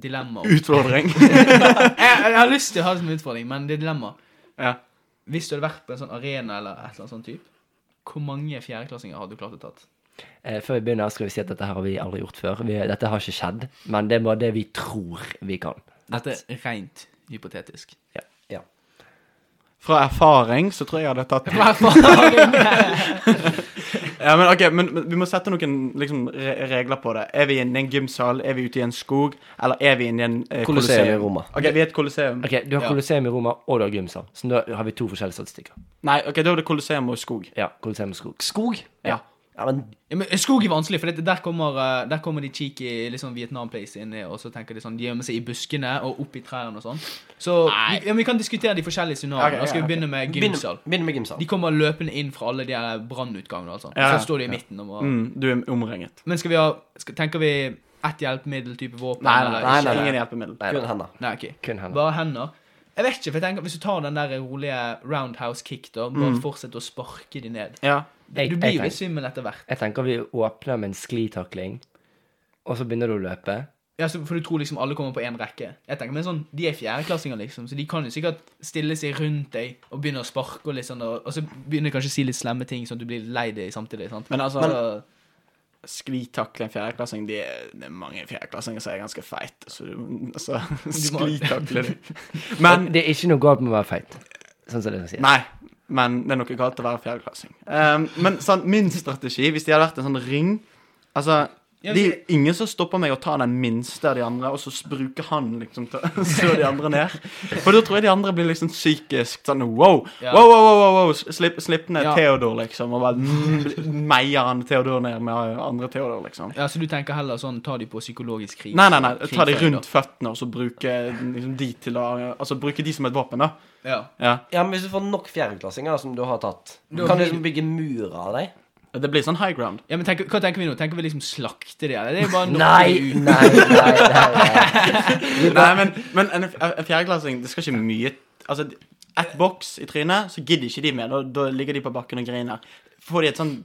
Speaker 1: dilemma. Jeg,
Speaker 4: Utfordring.
Speaker 1: jeg har lyst til å ha det som en utfordring, men det er dilemma.
Speaker 4: Ja.
Speaker 1: Hvis du hadde vært på en sånn arena eller et eller annet sånt type, hvor mange fjerdeklassinger hadde du klart å tatt?
Speaker 3: Eh, Før vi begynner, skal vi si at dette her har vi aldri gjort før. Vi, dette har ikke skjedd, men det er bare det vi tror vi kan.
Speaker 1: Dette er rent hypotetisk.
Speaker 2: Ja.
Speaker 4: Fra erfaring så tror jeg jeg hadde tatt Ja, men ok, men, men vi må sette noen liksom, re regler på det. Er vi inne i en gymsal? Er vi ute i en skog? Eller er vi inne i en eh,
Speaker 2: Colosseum i Roma.
Speaker 4: Ok, vi er et kolosseum.
Speaker 3: Ok, Du har
Speaker 1: Ja.
Speaker 3: Colosseum i Roma, og du har Grimsal. Så nå har vi to forskjellige statistikker.
Speaker 4: Nei, ok, da er det kolosseum og skog.
Speaker 3: Ja, Colosseum og skog.
Speaker 2: Skog?
Speaker 4: Ja.
Speaker 2: Ja, men
Speaker 1: Ja, men skog er vanskelig, for det, der, kommer, eh, der kommer de cheeky liksom Vietnam-place inni, og så tenker de sånn, de gjemmer seg i buskene og opp i trærne og sånn. Så vi, ja, men vi kan diskutere de forskjellige
Speaker 4: Ok,
Speaker 1: scenarioene. Da skal
Speaker 4: ja,
Speaker 1: vi begynne med
Speaker 2: begynn
Speaker 1: gymsal.
Speaker 2: begynn med gymsal.
Speaker 1: De kommer løpende inn fra alle de her brannutgangene. og alt sånt.
Speaker 4: Ja, ja.
Speaker 1: Så står de i midten. Og må...
Speaker 4: Mm, du er omringet.
Speaker 1: Men skal vi ha skal, Tenker vi ett hjelpemiddel-type våpen?
Speaker 4: Nei, nei,
Speaker 1: eller
Speaker 4: nei,
Speaker 1: ikke?
Speaker 4: nei, ingen hjelpemiddel.
Speaker 2: Kun henne.
Speaker 1: nei ok.
Speaker 3: Kun henne.
Speaker 1: Bare hender. Jeg vet ikke, for jeg tenker Hvis du tar den der rolige roundhouse kick, da, bare fortsett å sparke de ned.
Speaker 4: Ja.
Speaker 3: Jeg,
Speaker 1: Du
Speaker 3: jeg,
Speaker 1: blir jo
Speaker 3: tenker,
Speaker 1: litt svimmel etter hvert.
Speaker 3: jeg tenker vi åpner med en sklitakling, og så begynner du å løpe.
Speaker 1: Ja, så, For du tror liksom alle kommer på én rekke. Jeg tenker, men sånn, De er fjerdeklassinger, liksom, så de kan jo sikkert stille seg rundt deg og begynne å sparke, og litt sånn, og, og så begynner de kanskje å si litt slemme ting, sånn at du blir lei deg samtidig. sant?
Speaker 4: Men altså,
Speaker 1: Så-
Speaker 4: sklitakle en fjerdeklassing Det er, det er mange fjerdeklassinger som er ganske feite, så du så,
Speaker 1: må-
Speaker 4: Sklitakle du.
Speaker 3: Men
Speaker 4: Men
Speaker 3: det er ikke noe galt med å være feit. Sånn som det skal sies.
Speaker 4: Nei. Men det er noe galt å være fjerdeklassing. Um, men sånn, min strategi, hvis de hadde vært en sånn ring Altså,
Speaker 1: Ja,
Speaker 4: det er
Speaker 1: men-
Speaker 4: jo ingen som stopper meg å ta den minste av de andre, og så bruker han liksom til å slå de andre ned. For da tror jeg de andre blir liksom psykisk sånn wow,
Speaker 1: Ja.
Speaker 4: wow, wow, wow, wow, wow. Slipp, slipp ned
Speaker 1: Ja.
Speaker 4: Theodor, liksom, og bare mm, meier han Theodor ned med andre Theodor, liksom.
Speaker 1: Ja, Så du tenker heller sånn ta de på psykologisk krig?
Speaker 4: Nei, nei, nei, ta de
Speaker 1: krigføring,
Speaker 4: rundt føttene, og så bruke liksom, de til å Altså bruke de som et våpen, da.
Speaker 1: da. Ja.
Speaker 4: Ja.
Speaker 2: Ja, men hvis du får nok fjerdeklassinger som du har tatt,
Speaker 1: Da
Speaker 2: kan du
Speaker 1: blir-
Speaker 2: liksom bygge murer av deg.
Speaker 4: Det blir sånn high ground.
Speaker 1: Ja, men tenk, Hva tenker vi nå? Tenker vi liksom slakte de, eller? Det er bare
Speaker 3: Nei, nei, nei. nei, nei.
Speaker 4: Nei, men, men en, en fjerdeklassing, det skal ikke mye Altså, ett boks i trynet, så gidder ikke de mer. Da, da ligger de på bakken og griner. Får de et sånn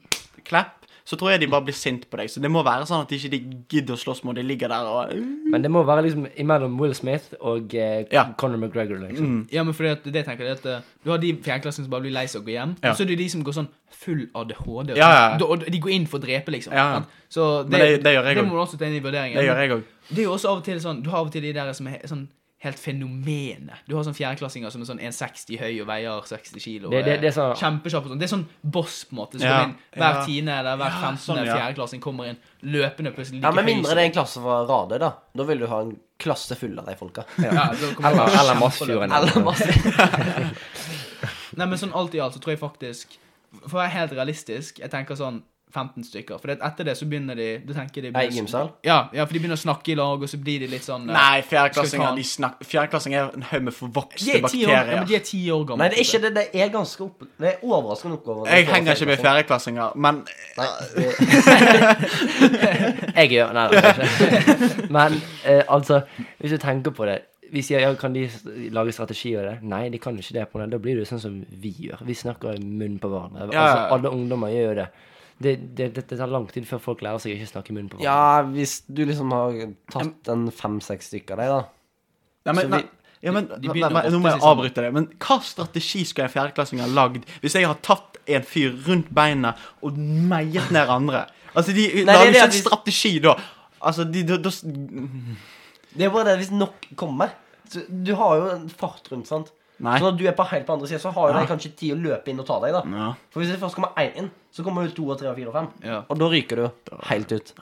Speaker 4: klapp, så tror jeg de bare blir sint på deg. Så det må være sånn at de ikke de gidder å slåss med, og de ligger der og uh.
Speaker 3: Men det må være liksom imellom Will Smith og eh,
Speaker 4: Ja.
Speaker 3: Conor McGregor, liksom.
Speaker 1: Ja, men fordi at det jeg tenker jeg at eh, Du har de fjerdeklassene som bare blir lei seg og går hjem.
Speaker 4: Ja.
Speaker 1: Og så er det de som går sånn full ADHD. Og,
Speaker 4: Ja, ja, ja.
Speaker 1: da- Og de går inn for å drepe, liksom.
Speaker 4: Ja, ja.
Speaker 1: sant? Så det,
Speaker 4: Men det- det gjør jeg
Speaker 1: det
Speaker 4: også.
Speaker 1: må du også ta inn i vurderingen.
Speaker 4: Det gjør jeg òg.
Speaker 1: Det er jo også av og til sånn Du har av og til de der som er he- sånn helt fenomenet. Du har sånn fjerdeklassinger som er sånn 1,60 høy og veier 60 kilo.
Speaker 3: Det- det- det er sånn-
Speaker 1: Kjempekjapp og sånn. Det er sånn boss, på en måte. Som
Speaker 4: Ja,
Speaker 1: kommer inn hver
Speaker 4: ja.
Speaker 1: tiende eller hver femtende
Speaker 4: sånn, ja.
Speaker 1: fjerdeklassing kommer inn løpende plutselig
Speaker 2: Ja,
Speaker 1: like
Speaker 2: Med
Speaker 1: høy
Speaker 2: mindre
Speaker 1: som-
Speaker 2: det er en klasse fra Radøy, da. Da vil du ha en klasse full av de folka.
Speaker 1: ja, da kommer det
Speaker 3: Eller,
Speaker 1: bare
Speaker 3: eller
Speaker 1: kjempeløp.
Speaker 3: Masfjorden.
Speaker 2: Eller masse
Speaker 1: Nei, men sånn alt i alt så tror jeg faktisk For å være helt realistisk, jeg tenker sånn 15 stykker. For det, at etter det så begynner de Da tenker de
Speaker 2: Nei, i gymsal.
Speaker 1: Ja, ja, for de begynner å snakke i lag, og så blir de litt sånn eh, Skal vi
Speaker 4: Nei,
Speaker 1: ta
Speaker 4: fjerdeklassinger
Speaker 1: den?
Speaker 4: de snak- fjerdeklassinger er en haug med forvokste
Speaker 1: de er, ti år, ja,
Speaker 4: bakterier.
Speaker 1: men de er ti år gamle.
Speaker 2: Nei, det er ikke det. Det er ganske opp... Det er overraskende oppgaver.
Speaker 4: Jeg henger ikke med fjerdeklassinger, men
Speaker 2: Nei, det...
Speaker 3: Jeg gjør Nei, det er ikke Men eh, altså, hvis du tenker på det Vi sier ja, kan de s- lage strategier av det? Nei, de kan jo ikke det. på det Da blir det jo sånn som vi gjør. Vi snakker i munnen på hverandre.
Speaker 4: Ja, ja,
Speaker 3: Altså,
Speaker 4: ja.
Speaker 3: alle ungdommer gjør jo det. Det, det, det. det tar lang tid før folk lærer seg å ikke snakke i munnen på hverandre.
Speaker 2: Ja, hvis du liksom har tatt en fem-seks stykker av deg, da.
Speaker 4: Nei, men,
Speaker 2: Så
Speaker 4: nei,
Speaker 2: vi-
Speaker 4: ja, men
Speaker 1: de
Speaker 4: nei,
Speaker 1: begynner
Speaker 4: nei,
Speaker 1: ofte
Speaker 4: Nå må jeg
Speaker 1: sesongen.
Speaker 4: avbryte det. Men hva strategi skulle en fjerdeklassing ha lagd hvis jeg har tatt en fyr rundt beina og meiet ned andre? Altså, de
Speaker 2: Nei, det
Speaker 4: lager
Speaker 2: er
Speaker 4: ikke
Speaker 2: det
Speaker 4: en
Speaker 2: at de-
Speaker 4: strategi da. Altså, de, da, da s-
Speaker 2: Det er bare det hvis nok kommer. Så du har jo en fart rundt, sant.
Speaker 4: Nei.
Speaker 2: Så når du er på helt på andre siden så har jo
Speaker 4: Ja. Mm.
Speaker 2: de kanskje tid å løpe inn og ta deg, da.
Speaker 4: Ja.
Speaker 2: For hvis det først kommer én inn, så kommer det to og tre og fire og fem.
Speaker 1: Ja,
Speaker 2: Og da ryker du helt ut.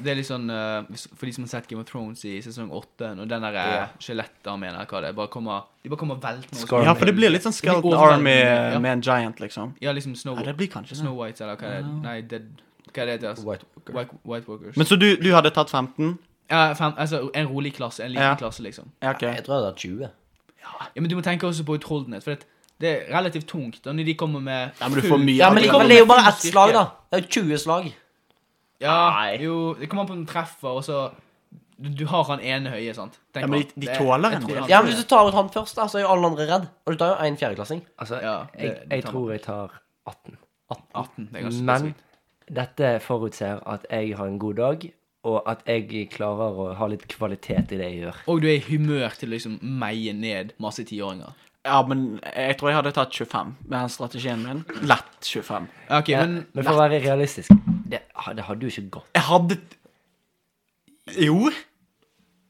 Speaker 1: det er litt sånn eh, hvis- For de som har sett Game of Thrones i sesong åtte, når den der
Speaker 2: Ja.
Speaker 1: eh, skjelettdamen eller hva det er, bare kommer De bare kommer veltende og
Speaker 3: Scar-
Speaker 1: så-
Speaker 4: ja, for det blir litt sånn
Speaker 1: Det blir
Speaker 4: Skeleton
Speaker 1: overveldende,
Speaker 4: Army
Speaker 1: ja.
Speaker 4: med en giant, liksom.
Speaker 1: Ja, liksom Snow,
Speaker 4: Ja, det blir kanskje det.
Speaker 1: Snow White eller hva det er. Nei, Dead Hva er det det heter? altså.
Speaker 2: White Walker.
Speaker 1: White, White Walkers.
Speaker 4: Men så du, du hadde tatt 15?
Speaker 1: Ja, fem, altså, en rolig klasse. En liten
Speaker 4: Ja.
Speaker 1: klasse, liksom.
Speaker 4: Ja, ok.
Speaker 2: Jeg tror jeg hadde hatt 20.
Speaker 1: Ja, Men du må tenke også på utholdenhet. For det, det er relativt tungt da, når de kommer med
Speaker 4: Ja, men du får mye
Speaker 2: Ja,
Speaker 4: av
Speaker 2: men,
Speaker 4: det.
Speaker 2: det-
Speaker 1: kommer
Speaker 2: men det er jo
Speaker 1: med
Speaker 2: bare
Speaker 1: full
Speaker 2: ett slag,
Speaker 1: styrke.
Speaker 2: da. Det er jo 20 slag.
Speaker 1: Ja,
Speaker 4: Nei.
Speaker 1: jo, Det kommer an på om du treffer, og så du, du har han ene høye, sant? Tenk
Speaker 4: Ja, men de-
Speaker 1: på-
Speaker 4: de
Speaker 1: det-
Speaker 4: tåler
Speaker 1: jeg
Speaker 4: en
Speaker 1: tror
Speaker 4: del.
Speaker 1: han-
Speaker 2: Ja, men Hvis du tar ut han først, da, så er jo alle andre redd. Og du tar jo en fjerdeklassing.
Speaker 3: Altså,
Speaker 1: Ja, det-
Speaker 3: jeg,
Speaker 1: det
Speaker 3: jeg
Speaker 1: tar
Speaker 3: tror jeg tar 18.
Speaker 1: 18. Det er ganske
Speaker 3: Men
Speaker 1: spesifikt.
Speaker 3: dette forutser at jeg har en god dag, og at jeg klarer å ha litt kvalitet i det jeg gjør.
Speaker 1: Og du er i humør til å liksom meie ned masse tiåringer.
Speaker 4: Ja, men jeg tror jeg hadde tatt 25 med den strategien min. Lett 25.
Speaker 1: Ja, Ok,
Speaker 3: Men,
Speaker 1: men
Speaker 3: for å være realistisk, det, det hadde jo ikke gått.
Speaker 4: Jeg hadde Jo.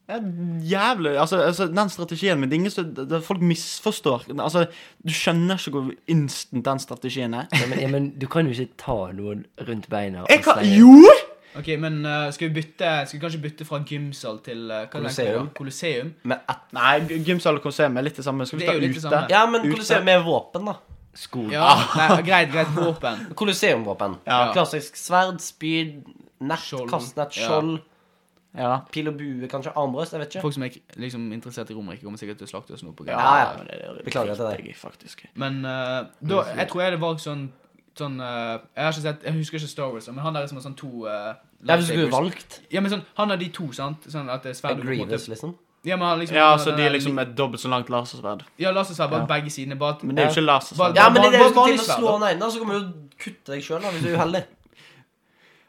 Speaker 4: Det er jævlig altså, altså, den strategien min det er ingen som, det, det, Folk misforstår. Altså, du skjønner ikke hvor instant den strategien er.
Speaker 3: Ja, men, ja, men du kan jo ikke ta noen rundt beina og
Speaker 4: Jeg kan,
Speaker 3: slenge-
Speaker 4: jo!
Speaker 1: Ok, men eh, skal vi bytte Skal vi kanskje bytte fra gymsal til eh, hva tenker du
Speaker 2: Colosseum.
Speaker 1: da? Colosseum?
Speaker 2: Med ett.
Speaker 4: Nei, gymsal og kolosseum er litt det samme. Skal vi
Speaker 1: Det er
Speaker 4: ta
Speaker 1: jo litt det
Speaker 4: ute?
Speaker 1: samme.
Speaker 4: Ja.
Speaker 2: Ja, men
Speaker 4: Ute.
Speaker 2: Colosseum med våpen, da.
Speaker 3: sko.
Speaker 4: Ah.
Speaker 1: Ja, nei, greit, greit. Våpen.
Speaker 2: Colosseumvåpen.
Speaker 1: Ja.
Speaker 2: Klassisk sverd, spyd, nett,
Speaker 1: Skjold.
Speaker 2: kastenett,
Speaker 1: Ja.
Speaker 2: skjold,
Speaker 4: Ja.
Speaker 2: pil og bue, kanskje armbrøst. Jeg vet ikke.
Speaker 1: Folk som er liksom interessert i Romerriket, kommer sikkert til å slakte oss nå. på grunn av-
Speaker 2: Ja, ja.
Speaker 4: men det- det
Speaker 2: Beklager til deg.
Speaker 4: driter jeg i, faktisk.
Speaker 1: Men eh, da, jeg tror jeg det var sånn Sånn eh, Jeg har ikke sett Jeg husker ikke Star Wars, men han der som har sånn to eh,
Speaker 2: Ja, hvis du skulle
Speaker 1: lightsabers.
Speaker 2: valgt
Speaker 1: Ja, men sånn Han har de to, sant? Sånn at det er sverd og på en
Speaker 2: Grievous,
Speaker 4: altså.
Speaker 1: måte-
Speaker 2: liksom.
Speaker 1: Ja, men han liksom
Speaker 4: Ja,
Speaker 1: han har
Speaker 4: så
Speaker 1: den
Speaker 4: de
Speaker 1: der
Speaker 4: er liksom
Speaker 1: li-
Speaker 4: et dobbelt så langt lasersverd.
Speaker 1: Ja, lasersverd bare
Speaker 4: Ja.
Speaker 1: begge sidene. Bare at
Speaker 4: Men det er jo ikke lasersverd.
Speaker 2: Ja,
Speaker 1: Ja,
Speaker 2: men det er det
Speaker 1: bare-
Speaker 2: du skal til
Speaker 1: bare
Speaker 2: å slå han inn, da, så kommer du å kutte deg sjøl hvis du er uheldig.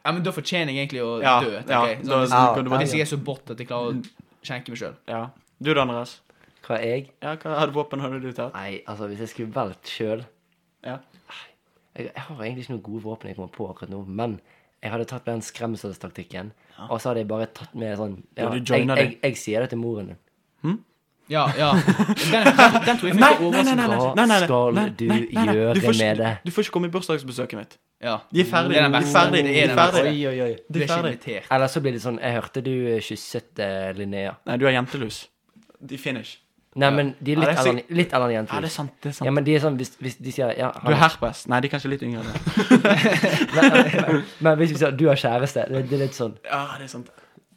Speaker 1: Ja, men da fortjener jeg egentlig å
Speaker 4: Ja,
Speaker 1: dø. tenker
Speaker 4: ja,
Speaker 1: jeg.
Speaker 4: da-
Speaker 1: Sånn,
Speaker 4: da
Speaker 2: kan du
Speaker 1: hvis,
Speaker 2: bare-
Speaker 1: hvis jeg er så bot at jeg klarer å skjenke meg sjøl.
Speaker 4: Ja. Du da, Andreas?
Speaker 3: Hva er jeg?
Speaker 4: Ja, hva hadde våpen hadde du tatt?
Speaker 3: Nei, altså, hvis jeg skulle valgt sjøl
Speaker 4: Ja.
Speaker 3: jeg, jeg har egentlig ikke noen gode våpen jeg kommer på akkurat nå, men jeg hadde tatt med den skremselstaktikken, og så hadde jeg bare tatt med sånn ja,
Speaker 4: Ja, du
Speaker 3: jeg, jeg,
Speaker 4: joiner
Speaker 3: jeg, sier det til moren din.
Speaker 1: Ja, ja. Den, den, den tror jeg
Speaker 4: Nei,
Speaker 1: fikk
Speaker 4: nei, nei,
Speaker 1: overraskende.
Speaker 4: nei, nei,
Speaker 3: Hva
Speaker 4: nei, nei, nei,
Speaker 3: skal
Speaker 4: nei,
Speaker 3: du
Speaker 4: nei, nei, nei.
Speaker 3: gjøre
Speaker 4: Du får ikke-
Speaker 3: med det?
Speaker 4: Du får ikke komme i bursdagsbesøket mitt.
Speaker 1: Ja.
Speaker 4: De er ferdige.
Speaker 1: Det er den
Speaker 4: De er
Speaker 1: beste.
Speaker 4: ferdige.
Speaker 1: Det
Speaker 4: De
Speaker 1: er
Speaker 4: er
Speaker 1: den
Speaker 4: ferdige.
Speaker 1: beste.
Speaker 2: oi, oi.
Speaker 1: Du
Speaker 4: De
Speaker 1: er
Speaker 4: er
Speaker 1: ikke
Speaker 4: ferdige.
Speaker 1: invitert.
Speaker 3: Eller så blir det sånn Jeg hørte du eh, kysset eh, Linnea.
Speaker 4: Nei, du er jentelus. De finish.
Speaker 3: Nei, men de er
Speaker 4: Ja,
Speaker 3: litt
Speaker 4: det er
Speaker 3: eller litt eller annet
Speaker 4: Ja, det er
Speaker 3: jenter.
Speaker 4: sant. det er sant.
Speaker 3: Ja, men de er sånn, hvis, hvis de sier ja,
Speaker 4: Du
Speaker 3: han,
Speaker 4: er herpes. Nei, de er kanskje litt yngre. enn det.
Speaker 3: Men hvis vi sier du har kjæreste, det, det er litt sånn
Speaker 4: Ja, det er sant.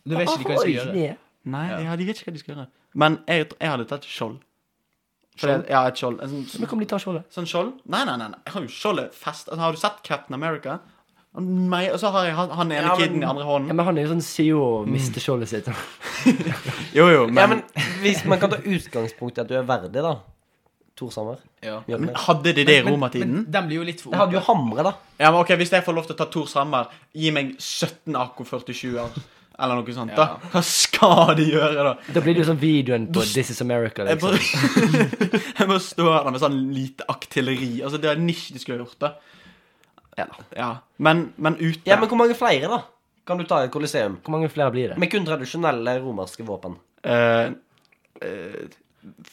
Speaker 1: Da vet ikke de hva jeg skal gjøre.
Speaker 3: Oi,
Speaker 4: Nei,
Speaker 1: Ja.
Speaker 4: ja, de vet ikke hva de skal gjøre. Men jeg, jeg hadde tatt skjold. For det- Ja, et skjold. En sånn,
Speaker 3: Men kan de ta skjoldet?
Speaker 4: sånn skjold? Nei, nei, nei. nei. Jeg har jo skjoldet fest. Altså, har du sett Captain America? Han- Meg, og så har jeg han, han ene
Speaker 2: Ja, men-
Speaker 4: kiden i andre
Speaker 3: Ja,
Speaker 4: hånden.
Speaker 3: men han er jo sånn CEO og mister skjoldet sitt.
Speaker 4: Jo, jo, men,
Speaker 2: Ja, men hvis man kan ta utgangspunkt i at du er verdig, da. Tor Sammer.
Speaker 1: Ja.
Speaker 4: men
Speaker 2: Mjølner.
Speaker 4: hadde de det i romertiden?
Speaker 1: Men den blir jo litt for
Speaker 2: Jeg hadde jo Hamre, da.
Speaker 4: Ja, men ok, Hvis jeg får lov til å ta Tor Sammer, gi meg 17 AK 47-er. Eller noe sånt. da
Speaker 1: Ja.
Speaker 4: Hva skal de gjøre, da?
Speaker 3: Da blir det jo sånn videoen på This Is America.
Speaker 4: Jeg
Speaker 3: Liksom.
Speaker 4: bare, jeg bare står her da med sånn lite artilleri. Altså, Det er ikke de skulle ha gjort det.
Speaker 3: Ja.
Speaker 4: Ja. Men, men ute
Speaker 2: Ja, men hvor mange flere, da? Kan du ta i Colosseum?
Speaker 3: Hvor mange flere blir det?
Speaker 2: Med kun tradisjonelle romerske våpen.
Speaker 4: eh, eh,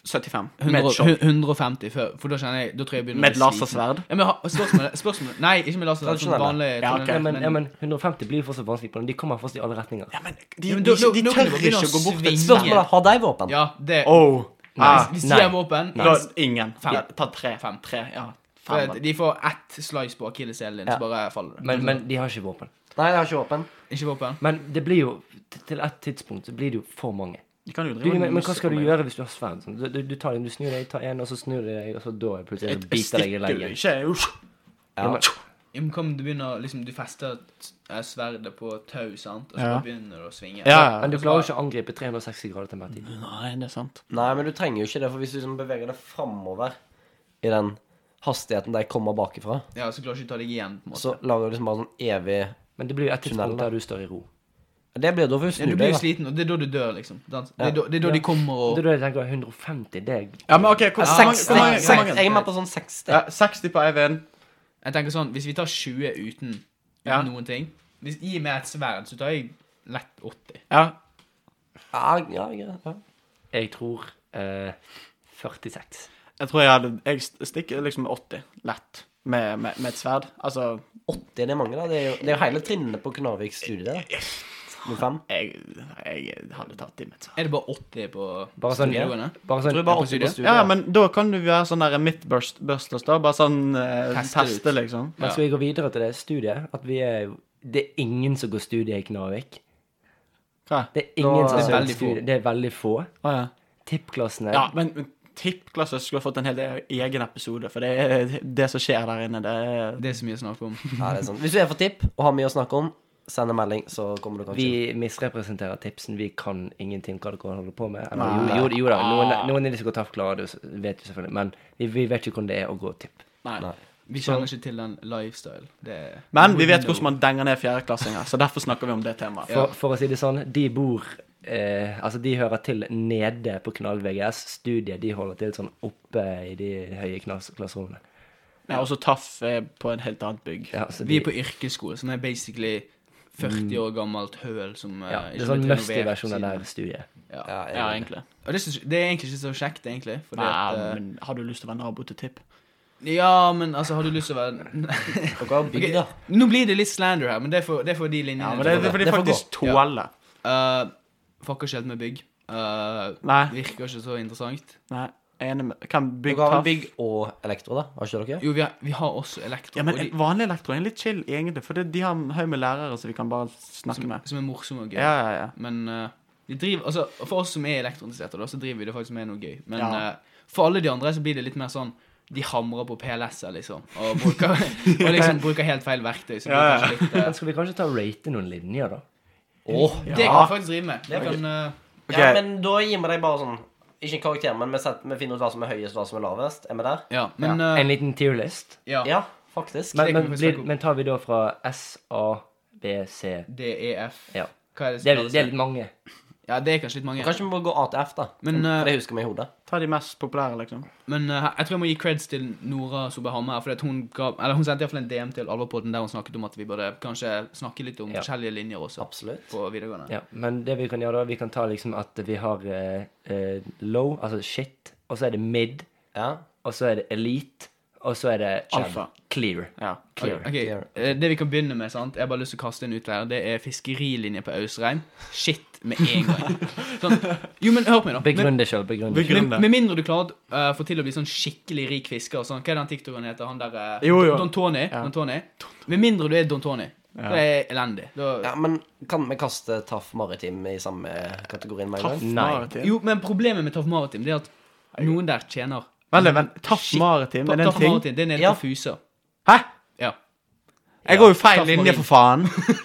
Speaker 4: 75. Med skjold.
Speaker 1: 150 før, for da kjenner jeg Da tror jeg jeg begynner å
Speaker 4: Med
Speaker 1: bli sliten.
Speaker 4: lasersverd.
Speaker 1: Ja, men ha- spørsmål, spørsmål Nei, ikke med lasersverd. Sånn vanlig
Speaker 4: Ja, ok.
Speaker 3: Ja, men, ja, men 150 blir jo fortsatt vanskelig på den. De kommer fortsatt i alle retninger.
Speaker 4: Ja, men de,
Speaker 1: Ja, men
Speaker 4: de,
Speaker 1: nå-
Speaker 4: de
Speaker 1: nå kan
Speaker 4: tør
Speaker 1: du
Speaker 4: ikke
Speaker 1: begynne å
Speaker 4: å gå bort til et
Speaker 1: svinge.
Speaker 4: spørsmål.
Speaker 2: Spørsmålet er, har de våpen?
Speaker 1: Ja, det
Speaker 4: Oh.
Speaker 1: Hvis-
Speaker 4: Ah.
Speaker 1: Hvis
Speaker 3: Nei.
Speaker 1: de er våpen
Speaker 4: Da,
Speaker 1: da-
Speaker 4: ingen.
Speaker 1: Fem.
Speaker 4: Ja, ta tre.
Speaker 1: Fem.
Speaker 4: tre. Ja.
Speaker 1: for
Speaker 4: Fem. da.
Speaker 1: De får ett slice på akilleshælen din,
Speaker 2: Ja.
Speaker 1: så bare faller det.
Speaker 3: Men, men de har ikke våpen.
Speaker 2: Nei, de har ikke våpen.
Speaker 1: Ikke våpen.
Speaker 3: Men det blir jo til- til et tidspunkt så blir det jo for mange.
Speaker 4: De kan jo
Speaker 3: Du,
Speaker 4: drive
Speaker 3: men,
Speaker 4: med
Speaker 3: men hva skal du
Speaker 4: musikk-
Speaker 3: gjøre hvis du har sverd? Sånn? Du, du, du tar den, du snur deg, tar en, og så snur du deg, og så da er det plutselig så
Speaker 4: Jeg,
Speaker 3: biter
Speaker 4: jeg
Speaker 3: deg i
Speaker 4: stikker jo
Speaker 3: leggen.
Speaker 4: ikke. jeg- Uff.
Speaker 3: Ja, men,
Speaker 1: Ja, men Hva om du begynner liksom, Du fester t- eh, sverdet på tau, sant, og så
Speaker 4: Ja.
Speaker 1: bare begynner det å svinge?
Speaker 4: Ja, ja.
Speaker 3: men du klarer jo ikke å angripe 360 grader til enhver tid.
Speaker 4: Nei, det er sant.
Speaker 2: Nei, men du trenger jo ikke det, for hvis du liksom beveger deg framover i den hastigheten de kommer bakifra,
Speaker 1: Ja, så klarer du ikke å ta deg igjen, på en måte.
Speaker 2: så lager du liksom bare sånn evig
Speaker 3: Men det blir jo et
Speaker 2: Tunnel,
Speaker 3: tidspunkt
Speaker 2: da.
Speaker 3: der du står i ro.
Speaker 2: Det blir da for å
Speaker 1: ja,
Speaker 2: snu
Speaker 1: du blir
Speaker 2: deg,
Speaker 1: jo
Speaker 2: da.
Speaker 1: sliten, og det er da du dør, liksom. sant? Det
Speaker 2: Ja.
Speaker 1: er da, det er da de kommer
Speaker 3: Det
Speaker 1: og
Speaker 3: er da jeg tenker 150, det er
Speaker 4: Ja, men OK, hvor,
Speaker 2: Ja,
Speaker 4: hvor mange-
Speaker 2: 60,
Speaker 4: hvor mange? Hvor
Speaker 2: seks-
Speaker 4: mange?
Speaker 2: jeg er med på sånn 60.
Speaker 4: Ja, 60 på Eivind.
Speaker 1: Jeg tenker sånn, Hvis vi tar 20 uten, uten
Speaker 4: Ja.
Speaker 1: noen ting hvis, Gi meg et sverd, så tar jeg lett 80.
Speaker 4: Ja.
Speaker 2: Ja, ja, greit, ja.
Speaker 3: Jeg tror eh, 46.
Speaker 4: Jeg tror jeg hadde Jeg st- stikker liksom 80. Lett. Med, med, med et sverd. Altså
Speaker 2: 80 er det mange, da. Det er jo, det er jo hele trinnet på Knarviks studie. da. Med fem.
Speaker 4: jeg, jeg hadde tatt det med et sverd.
Speaker 1: Er det bare 80 på
Speaker 3: Bare sånn,
Speaker 1: videregående?
Speaker 3: bare
Speaker 2: Jeg tror
Speaker 3: sånn
Speaker 2: jeg bare
Speaker 1: på
Speaker 2: 80
Speaker 1: studiet.
Speaker 2: på studiet.
Speaker 4: Ja, men da kan du være sånn der midtbusters, da. Bare sånn eh,
Speaker 1: Teste
Speaker 4: teste,
Speaker 1: ut.
Speaker 4: liksom.
Speaker 3: Men skal vi gå videre til det studiet? At vi er jo Det er ingen som går studiet i Knarvik.
Speaker 4: Hva?
Speaker 3: Det er ingen
Speaker 2: Nå-
Speaker 3: som
Speaker 2: Det er
Speaker 3: søker
Speaker 1: veldig få.
Speaker 3: studie. Det er veldig få.
Speaker 4: Å, ja.
Speaker 3: Tippklassene
Speaker 4: ja, men men tippklasse skulle ha fått en hel egen episode, for det, er- det som skjer der inne, det er
Speaker 1: Det er så mye å snakke om.
Speaker 2: Ja, det er sånn. Hvis du er for tipp og har mye å snakke om, send en melding, så kommer du kanskje
Speaker 3: Vi misrepresenterer tipsen. Vi kan ingenting om hva dere holder på med. Eller, jo, jo, jo da, noen,
Speaker 1: Ah.
Speaker 3: noen er de som går taft klare, det vet vi selvfølgelig. Men vi, vi vet ikke hvordan det er å gå tipp.
Speaker 4: Nei.
Speaker 1: Vi kjenner ikke til den lifestyle. Det er
Speaker 4: Men vi vet hvordan man denger ned fjerdeklassinger, så derfor snakker vi om det temaet.
Speaker 3: For, for å si det sånn, de bor eh, Altså, de hører til nede på Knall VGS. Studiet de holder til sånn oppe i de høye knas- klasserommene.
Speaker 4: Ja, og så Taff er på en helt annet bygg.
Speaker 3: Ja, så
Speaker 1: Vi
Speaker 3: de, Mm.
Speaker 1: er på yrkesskole, som er basically 40 år gammelt høl som eh,
Speaker 3: ja,
Speaker 1: ikke
Speaker 3: det er
Speaker 1: har
Speaker 3: sånn
Speaker 1: blitt renovert
Speaker 3: musty-versjon av
Speaker 1: siden.
Speaker 3: det her studiet.
Speaker 1: Ja.
Speaker 2: Ja, jeg-
Speaker 4: Ja, egentlig.
Speaker 1: Og det, synes, det er egentlig ikke så kjekt, egentlig. Fordi
Speaker 4: Nei,
Speaker 1: at, eh,
Speaker 4: men har du lyst til å være nabo til Tipp?
Speaker 1: Ja, men altså, har du lyst til å være
Speaker 2: Dere har bygd,
Speaker 1: Ok,
Speaker 2: da.
Speaker 1: Nå blir det litt slander her, men det er for, det er for de linjene.
Speaker 4: Ja, men det, det er fordi
Speaker 2: det får
Speaker 4: faktisk
Speaker 1: gå. Ja.
Speaker 4: tåler.
Speaker 1: Eh, fucker ikke helt med bygg. Eh,
Speaker 4: Nei.
Speaker 1: virker ikke så interessant.
Speaker 4: Nei, jeg er enig med Kan bygg
Speaker 2: Dere har
Speaker 4: Taff?
Speaker 2: vel bygg og elektro, da? Har ikke dere?
Speaker 1: Jo, vi har, vi har også elektro,
Speaker 4: Ja, men
Speaker 1: og de,
Speaker 4: vanlig elektro er litt chill, egentlig, for det, de har en haug med lærere som vi kan bare snakke
Speaker 1: som,
Speaker 4: med.
Speaker 1: som er morsomme og gøy.
Speaker 4: Ja, ja, ja.
Speaker 1: Men eh, vi driver, altså, for oss som er elektrointeresserte, da, så driver vi det faktisk med noe gøy. Men
Speaker 4: Ja.
Speaker 1: eh, for alle de andre så blir det litt mer sånn de hamrer på PLS-er, liksom. Og bruker, og liksom bruker helt feil verktøy. Så det blir
Speaker 4: Ja, ja.
Speaker 1: kanskje litt, eh,
Speaker 3: Men skal vi kanskje ta og rate noen linjer, da?
Speaker 1: Det kan vi faktisk drive med. Det kan, eh,
Speaker 4: Ok.
Speaker 2: Ja, men da gir vi deg bare sånn Ikke en karakter, men vi, setter, vi finner ut hva som er høyest, hva som er lavest. Er vi der?
Speaker 1: ja, men eh,
Speaker 3: En liten tierlist?
Speaker 1: ja.
Speaker 2: Ja, faktisk.
Speaker 1: det
Speaker 3: Men,
Speaker 1: kan
Speaker 3: men,
Speaker 1: vi
Speaker 3: blir,
Speaker 1: snakke om.
Speaker 3: men tar vi da fra S, A, B, C
Speaker 1: DEF.
Speaker 3: Ja.
Speaker 1: E Hva er det
Speaker 3: Det
Speaker 1: som
Speaker 3: er, det er litt mange.
Speaker 1: Ja, det er kanskje litt mange.
Speaker 2: Kanskje vi må gå A til F, da.
Speaker 1: Men, eh,
Speaker 2: For det husker vi i hodet.
Speaker 4: Ta de mest populære, liksom.
Speaker 1: Men eh, jeg tror jeg må gi creds til Nora Soberhammer. For at hun, ga, eller hun sendte iallfall en DM til Alvorpodden der hun snakket om at vi burde kanskje snakke litt om
Speaker 3: Ja.
Speaker 1: forskjellige linjer også
Speaker 2: Absolutt.
Speaker 1: på videregående.
Speaker 3: Ja, men det vi kan gjøre da, vi kan ta liksom at vi har eh, eh, low, altså shit, og så er det mid,
Speaker 2: Ja.
Speaker 3: og så er det elite, og så er det
Speaker 4: Alfa.
Speaker 3: clear.
Speaker 4: Ja.
Speaker 3: Clear.
Speaker 1: Ok, eh, Det vi kan begynne med, sant? jeg har bare lyst til å kaste en ut der, det er fiskerilinje på Ausreim. Shit med en gang. Sånn. Jo, men hør på meg, da. Med,
Speaker 3: Begrunn det sjøl, begrunn det.
Speaker 4: Begrunn-
Speaker 1: med, med mindre du klarer å eh, få til å bli sånn skikkelig rik fisker og sånn. Hva er den TikTokeren heter? Han der eh,
Speaker 4: Jo, jo.
Speaker 1: Don Tony?
Speaker 4: Ja.
Speaker 1: Don Tony? Med mindre du er Don Tony. Det er elendig. Da,
Speaker 2: ja, men kan vi kaste Taff Maritim i samme kategorien med en
Speaker 4: Taff
Speaker 2: gang?
Speaker 3: Nei.
Speaker 4: Maritim.
Speaker 1: Jo, men problemet med Taff Maritim Det er at noen der tjener
Speaker 4: Vent litt, vent. Taff
Speaker 1: Shit.
Speaker 4: Maritim, er det en
Speaker 1: Taff
Speaker 4: ting?
Speaker 1: Maritim, det er nede
Speaker 2: Ja.
Speaker 1: på Fusa
Speaker 4: Hæ?
Speaker 1: Ja
Speaker 4: Jeg går jo feil linje, for faen.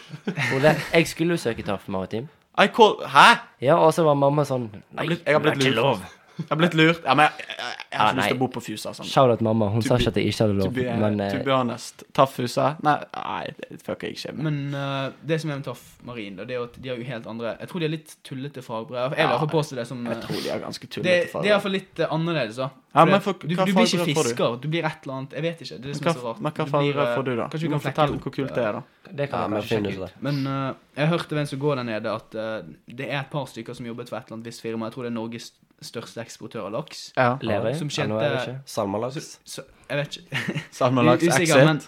Speaker 3: Ole, jeg skulle jo søke TAF maritim.
Speaker 4: I call Hæ?
Speaker 3: Ja, og så var mamma sånn Nei,
Speaker 4: blitt- jeg har blitt
Speaker 3: det er ikke
Speaker 4: lurt.
Speaker 3: lov.
Speaker 4: Jeg har blitt lurt. Ja, men jeg, jeg, jeg, jeg har
Speaker 3: Ah,
Speaker 4: ikke lyst til
Speaker 3: nei.
Speaker 4: å bo på Fusa. Sånn.
Speaker 3: Shout-out mamma. Hun
Speaker 4: To
Speaker 3: sa
Speaker 4: be-
Speaker 3: ikke at jeg ikke hadde
Speaker 4: To
Speaker 3: lov,
Speaker 4: be,
Speaker 3: men eh,
Speaker 4: to be honest. Taff Fusa? Nei, nei, det fucker jeg ikke med.
Speaker 1: Men eh, det som er med Taff Marin, da, det er jo at de har jo helt andre Jeg tror de har litt tullete fagbrev. Jeg vil i hvert fall påstå det som
Speaker 4: Jeg
Speaker 1: eh,
Speaker 4: tror de er ganske
Speaker 1: det,
Speaker 4: tullete.
Speaker 1: det er iallfall litt eh, annerledes, da.
Speaker 4: Ja,
Speaker 1: Fordi
Speaker 4: men
Speaker 1: at
Speaker 4: for-
Speaker 1: du,
Speaker 4: hva
Speaker 1: du blir ikke
Speaker 4: fagbrev får du?
Speaker 1: fisker. Du blir et eller annet Jeg vet ikke. Det er det som
Speaker 4: Hva,
Speaker 1: er så rart.
Speaker 4: men hva
Speaker 1: Du
Speaker 4: faen
Speaker 1: blir, eh,
Speaker 4: får du, da?
Speaker 1: Kanskje
Speaker 4: Du
Speaker 1: vi
Speaker 4: må
Speaker 1: kan flekke
Speaker 4: fortelle
Speaker 1: det
Speaker 4: hvor
Speaker 1: opp.
Speaker 4: kult det er, da.
Speaker 3: det
Speaker 2: Ja,
Speaker 3: kan
Speaker 2: men finn
Speaker 3: jeg sjekke
Speaker 2: ut
Speaker 3: ut.
Speaker 2: det.
Speaker 1: Men eh, jeg hørte hvem som går der nede, at eh, det er et par stykker som jobbet for et eller annet visst firma. Jeg tror det er Norges største eksportør av laks.
Speaker 4: Ja.
Speaker 3: Lever jeg?
Speaker 1: Som
Speaker 3: Ja, nå er det
Speaker 1: kjente-
Speaker 3: ikke.
Speaker 2: Salmalaks.
Speaker 1: Så, jeg vet ikke.
Speaker 4: Salmalaks
Speaker 1: Usikker,
Speaker 4: exit.
Speaker 1: men-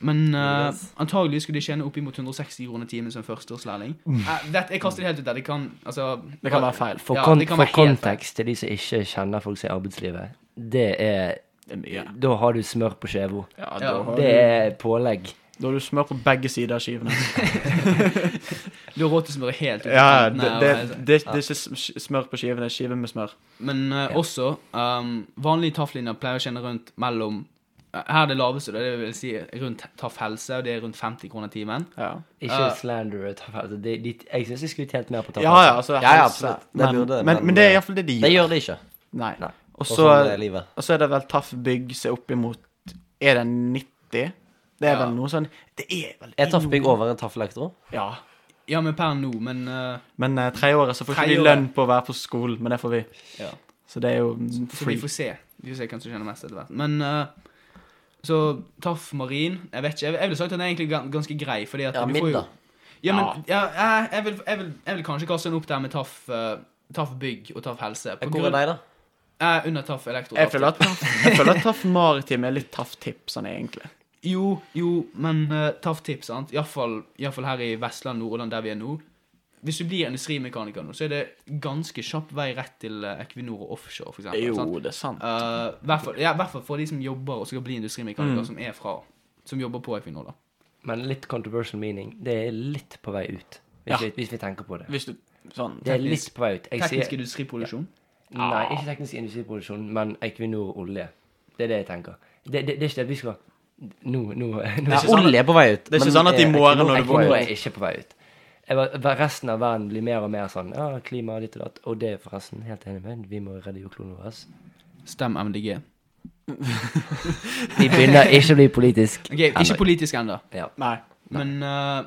Speaker 1: Men eh,
Speaker 2: Yes.
Speaker 1: antagelig skulle de tjene oppimot 160 kroner timen som førsteårslærling. Eh, det- jeg kaster det helt ut der. Det kan altså
Speaker 4: Mm. Det kan være feil.
Speaker 3: For,
Speaker 1: Ja,
Speaker 3: kon
Speaker 1: det kan
Speaker 3: for
Speaker 1: være helt
Speaker 3: kontekst til de som ikke kjenner folk som er i arbeidslivet, det er
Speaker 4: Det er mye.
Speaker 3: Da har du smør på skjeva.
Speaker 1: Ja,
Speaker 4: Ja, da, har
Speaker 3: Det
Speaker 4: du,
Speaker 3: er pålegg.
Speaker 4: da har du smør på begge sider av skivene.
Speaker 1: Du har råd til å smøre helt ut. i
Speaker 4: Ja,
Speaker 1: kantene,
Speaker 4: det, det,
Speaker 1: og-
Speaker 4: det, det er ikke sm- smør på skivene, det er skive med smør.
Speaker 1: Men eh, også um, Vanlige tafflinjer pleier å kjenne rundt mellom eh, Her er det laveste, da, det vil si rundt taff helse, og det er rundt 50 kroner timen.
Speaker 4: Ja,
Speaker 3: Ikke
Speaker 1: Ja.
Speaker 3: slander. og taff- Altså, de, de, jeg syns jeg skulle tjent mer på taff.
Speaker 4: ja, ja altså
Speaker 2: Ja, ja,
Speaker 4: helse.
Speaker 2: absolutt. Det
Speaker 4: men,
Speaker 2: burde det,
Speaker 4: men,
Speaker 2: men-
Speaker 4: men det er iallfall det de
Speaker 2: Det gjør det ikke.
Speaker 4: Nei.
Speaker 3: Nei.
Speaker 4: Og
Speaker 2: Og
Speaker 4: så
Speaker 2: sånn er livet.
Speaker 4: og så er det vel Taff Bygg som er oppimot Er det 90? Det er
Speaker 1: Ja.
Speaker 4: vel noe sånn Det er vel
Speaker 2: Er Taffbygg over en Taff Elektro?
Speaker 4: Ja.
Speaker 1: Ja, men per nå, men eh,
Speaker 4: Men eh, tredjeåret så får ikke vi
Speaker 1: Tredjeåret.
Speaker 4: lønn på å være på skolen, men det får vi.
Speaker 1: Ja.
Speaker 4: Så det er jo
Speaker 1: Så vi
Speaker 4: free.
Speaker 1: får se. Vi får se hvem som kjenner mest etter hvert. Men eh, så Taff Marin Jeg vet ikke. Jeg, jeg ville sagt at den er egentlig gan- ganske grei, fordi at
Speaker 2: Ja,
Speaker 1: du får jo
Speaker 2: middag.
Speaker 1: Ja, men ja, eh, jeg, jeg, vil, jeg, vil, jeg vil kanskje kaste den opp der med Taff, eh, taff bygg og Taff helse. På
Speaker 2: Hvor er
Speaker 1: grunn-
Speaker 2: deg, da?
Speaker 1: Eh, under Taff elektro.
Speaker 4: Jeg føler at Taff, jeg føler at taff Maritim er litt Taff Tipp, sånn egentlig.
Speaker 1: Jo, jo, men eh, Taff tips, sant. Iallfall her i Vestland, Nordland, der vi er nå. Hvis du blir industrimekaniker nå, så er det ganske kjapp vei rett til eh, Equinor og offshore, for eksempel.
Speaker 4: Jo,
Speaker 1: sant?
Speaker 4: det er sant.
Speaker 1: Eh, hvert fall- ja, I hvert fall for de som jobber og skal bli industrimekaniker, som er fra Som jobber på Equinor, da.
Speaker 3: Men litt controversial meaning. Det er litt på vei ut, hvis,
Speaker 4: Ja.
Speaker 3: vi, hvis vi tenker på det.
Speaker 4: Hvis du sånn
Speaker 3: Det er litt
Speaker 1: Teknisk-
Speaker 3: på vei ut. Jeg
Speaker 1: Teknisk Ah.
Speaker 3: sier,
Speaker 1: industriproduksjon.
Speaker 3: nei, ikke teknisk industriproduksjon, men Equinor olje. Det er det jeg tenker. Det, det, det er ikke det vi skal Nå, nå, nå
Speaker 2: Ja,
Speaker 4: ikke sånn-
Speaker 2: olje er på vei ut.
Speaker 4: Det er
Speaker 2: men
Speaker 4: ikke sånn at i
Speaker 2: er
Speaker 4: morgen
Speaker 2: Equinor-
Speaker 4: når du
Speaker 3: Equinor
Speaker 4: våkner
Speaker 3: er ikke på vei ut. Jeg var- var- Resten av verden blir mer og mer sånn Ja, klima, ditt og datt. Og det er forresten helt enig med. Vi må redde jordkloden vår.
Speaker 1: Stem MDG.
Speaker 3: Vi begynner ikke å bli politisk.
Speaker 1: Ok, Ikke politisk ennå,
Speaker 3: Ja.
Speaker 4: Nei.
Speaker 1: men eh,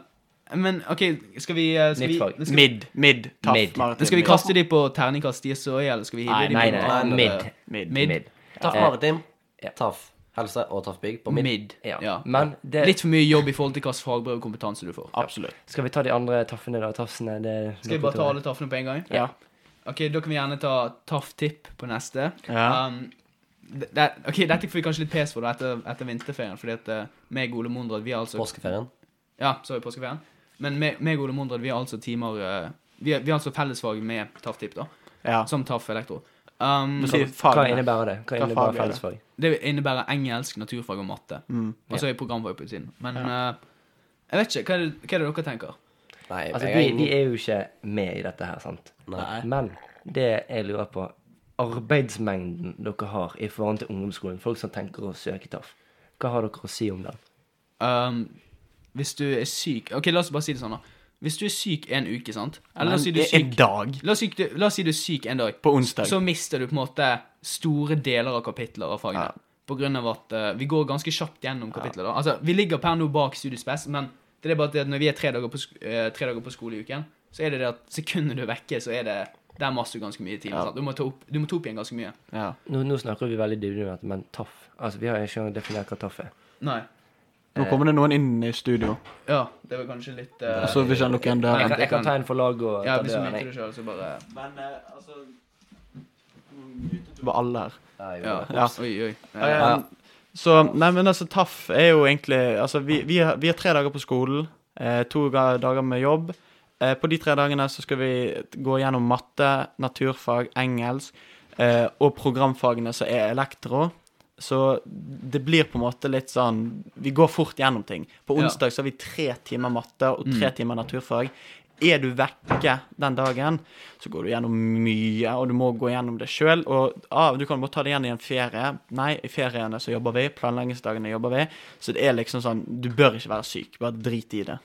Speaker 1: Men OK, skal vi eh, skal
Speaker 3: Nytt
Speaker 1: vi-
Speaker 3: fag.
Speaker 1: skal vi-
Speaker 4: Mid. Mid. Taff
Speaker 3: Mid.
Speaker 4: Maritim.
Speaker 1: Men skal vi
Speaker 4: mid.
Speaker 1: kaste de på terningkast de er så i, eller skal vi hive
Speaker 3: Nei,
Speaker 1: de på
Speaker 3: nei, nei.
Speaker 1: andre?
Speaker 3: Mid.
Speaker 4: Mid.
Speaker 1: Mid.
Speaker 3: Mid.
Speaker 2: Taff
Speaker 3: Eh,
Speaker 2: Maritim,
Speaker 3: ja.
Speaker 2: Taff Helse og Taff Bygg på
Speaker 1: Mid.
Speaker 2: midten.
Speaker 3: Ja.
Speaker 1: Ja.
Speaker 3: Men det,
Speaker 1: Litt for mye jobb i forhold til hva slags fagbrev og kompetanse du får.
Speaker 4: Absolutt.
Speaker 3: skal vi ta de andre taffene da? Tafsene? Det er
Speaker 1: Skal vi bare ta alle taffene på en gang?
Speaker 4: Ja.
Speaker 1: Ok, Da kan vi gjerne ta taff tipp på neste.
Speaker 4: Ja.
Speaker 1: Um, det, det, ok, Dette får vi kanskje litt pes for da, etter, etter vinterferien, fordi at eh, meg og Ole Mondrad vi er altså
Speaker 2: Påskeferien.
Speaker 1: Ja, sorry, påskeferien. Men meg, meg og Ole Mondrad vi er altså timer eh, vi, er, vi er altså fellesfag med taff tipp, da.
Speaker 4: ja. Sånn
Speaker 1: Som taff elektro. Um,
Speaker 4: Du sier
Speaker 3: Hva
Speaker 4: fagene.
Speaker 3: innebærer det? Hva
Speaker 4: Hva
Speaker 3: innebærer
Speaker 4: fag er det?
Speaker 3: fellesfag?
Speaker 1: Det innebærer engelsk, naturfag og matte.
Speaker 4: Mm.
Speaker 1: Og så er programfag på utsiden. Men eh, jeg vet ikke. Hva er det, hva er det dere tenker?
Speaker 2: Nei,
Speaker 3: Altså,
Speaker 2: jeg
Speaker 3: vi,
Speaker 2: har ingen-
Speaker 3: vi er jo ikke med i dette her, sant?
Speaker 2: Nei.
Speaker 3: Men det jeg lurer på Arbeidsmengden dere har i forhold til ungdomsskolen, folk som tenker å søke TAF, hva har dere å si om den?
Speaker 1: Um, hvis du er syk Ok, la oss bare si det sånn, da. Hvis du er syk en uke, sant Eller la oss si du er
Speaker 4: En
Speaker 1: syk
Speaker 4: dag.
Speaker 1: La oss, si du, la oss si du er syk en dag.
Speaker 4: På onsdag.
Speaker 1: Så mister du på en måte store deler av kapitler av fagene.
Speaker 4: Ja.
Speaker 1: På grunn av at eh, vi går ganske kjapt gjennom kapitler. da. Altså, Vi ligger per nå bak Studiespes, men det er bare det at når vi er tre dager, på, sk eh, tre dager på skole i uken, så er det det at sekundet du er vekke, så er det Der master du ganske mye timer.
Speaker 4: Ja.
Speaker 1: sant? Du må, ta opp, du må ta opp igjen ganske mye.
Speaker 4: Ja.
Speaker 3: Nå, nå snakker vi veldig dybde om dette, men TAF altså, Vi har ikke engang definert hva TAF er.
Speaker 1: Nei.
Speaker 4: Nå kommer det noen inn i studio,
Speaker 1: Ja, det var kanskje litt eh,
Speaker 4: og så vil ikke
Speaker 2: sånn
Speaker 4: han lukke igjen
Speaker 3: Jeg
Speaker 4: døren.
Speaker 3: kan, jeg kan ta en for laget og
Speaker 1: Ja,
Speaker 3: ta
Speaker 1: hvis du
Speaker 3: døren.
Speaker 1: mente
Speaker 3: jeg.
Speaker 1: det sjøl, så bare
Speaker 4: Men altså Du var alle her.
Speaker 2: Nei, jeg
Speaker 1: Ja.
Speaker 2: gjorde det.
Speaker 4: Ja.
Speaker 1: Oi, oi. Eh,
Speaker 4: Eh, Så Nei, men altså, TAF er jo egentlig Altså, vi, vi, har, vi har tre dager på skolen, eh, to ga- dager med jobb. Eh, på de tre dagene så skal vi gå gjennom matte, naturfag, engelsk eh, og programfagene som er elektro. Så det blir på en måte litt sånn Vi går fort gjennom ting. På
Speaker 1: Ja.
Speaker 4: Mm. onsdag så har vi tre timer matte og tre timer naturfag. er du vekke den dagen, så går du gjennom mye, og du må gå gjennom det sjøl. Og ah, du kan bare ta det igjen i en ferie. Nei, i feriene så jobber vi, planleggingsdagene jobber vi. Så det er liksom sånn, du bør ikke være syk. Bare drit i det.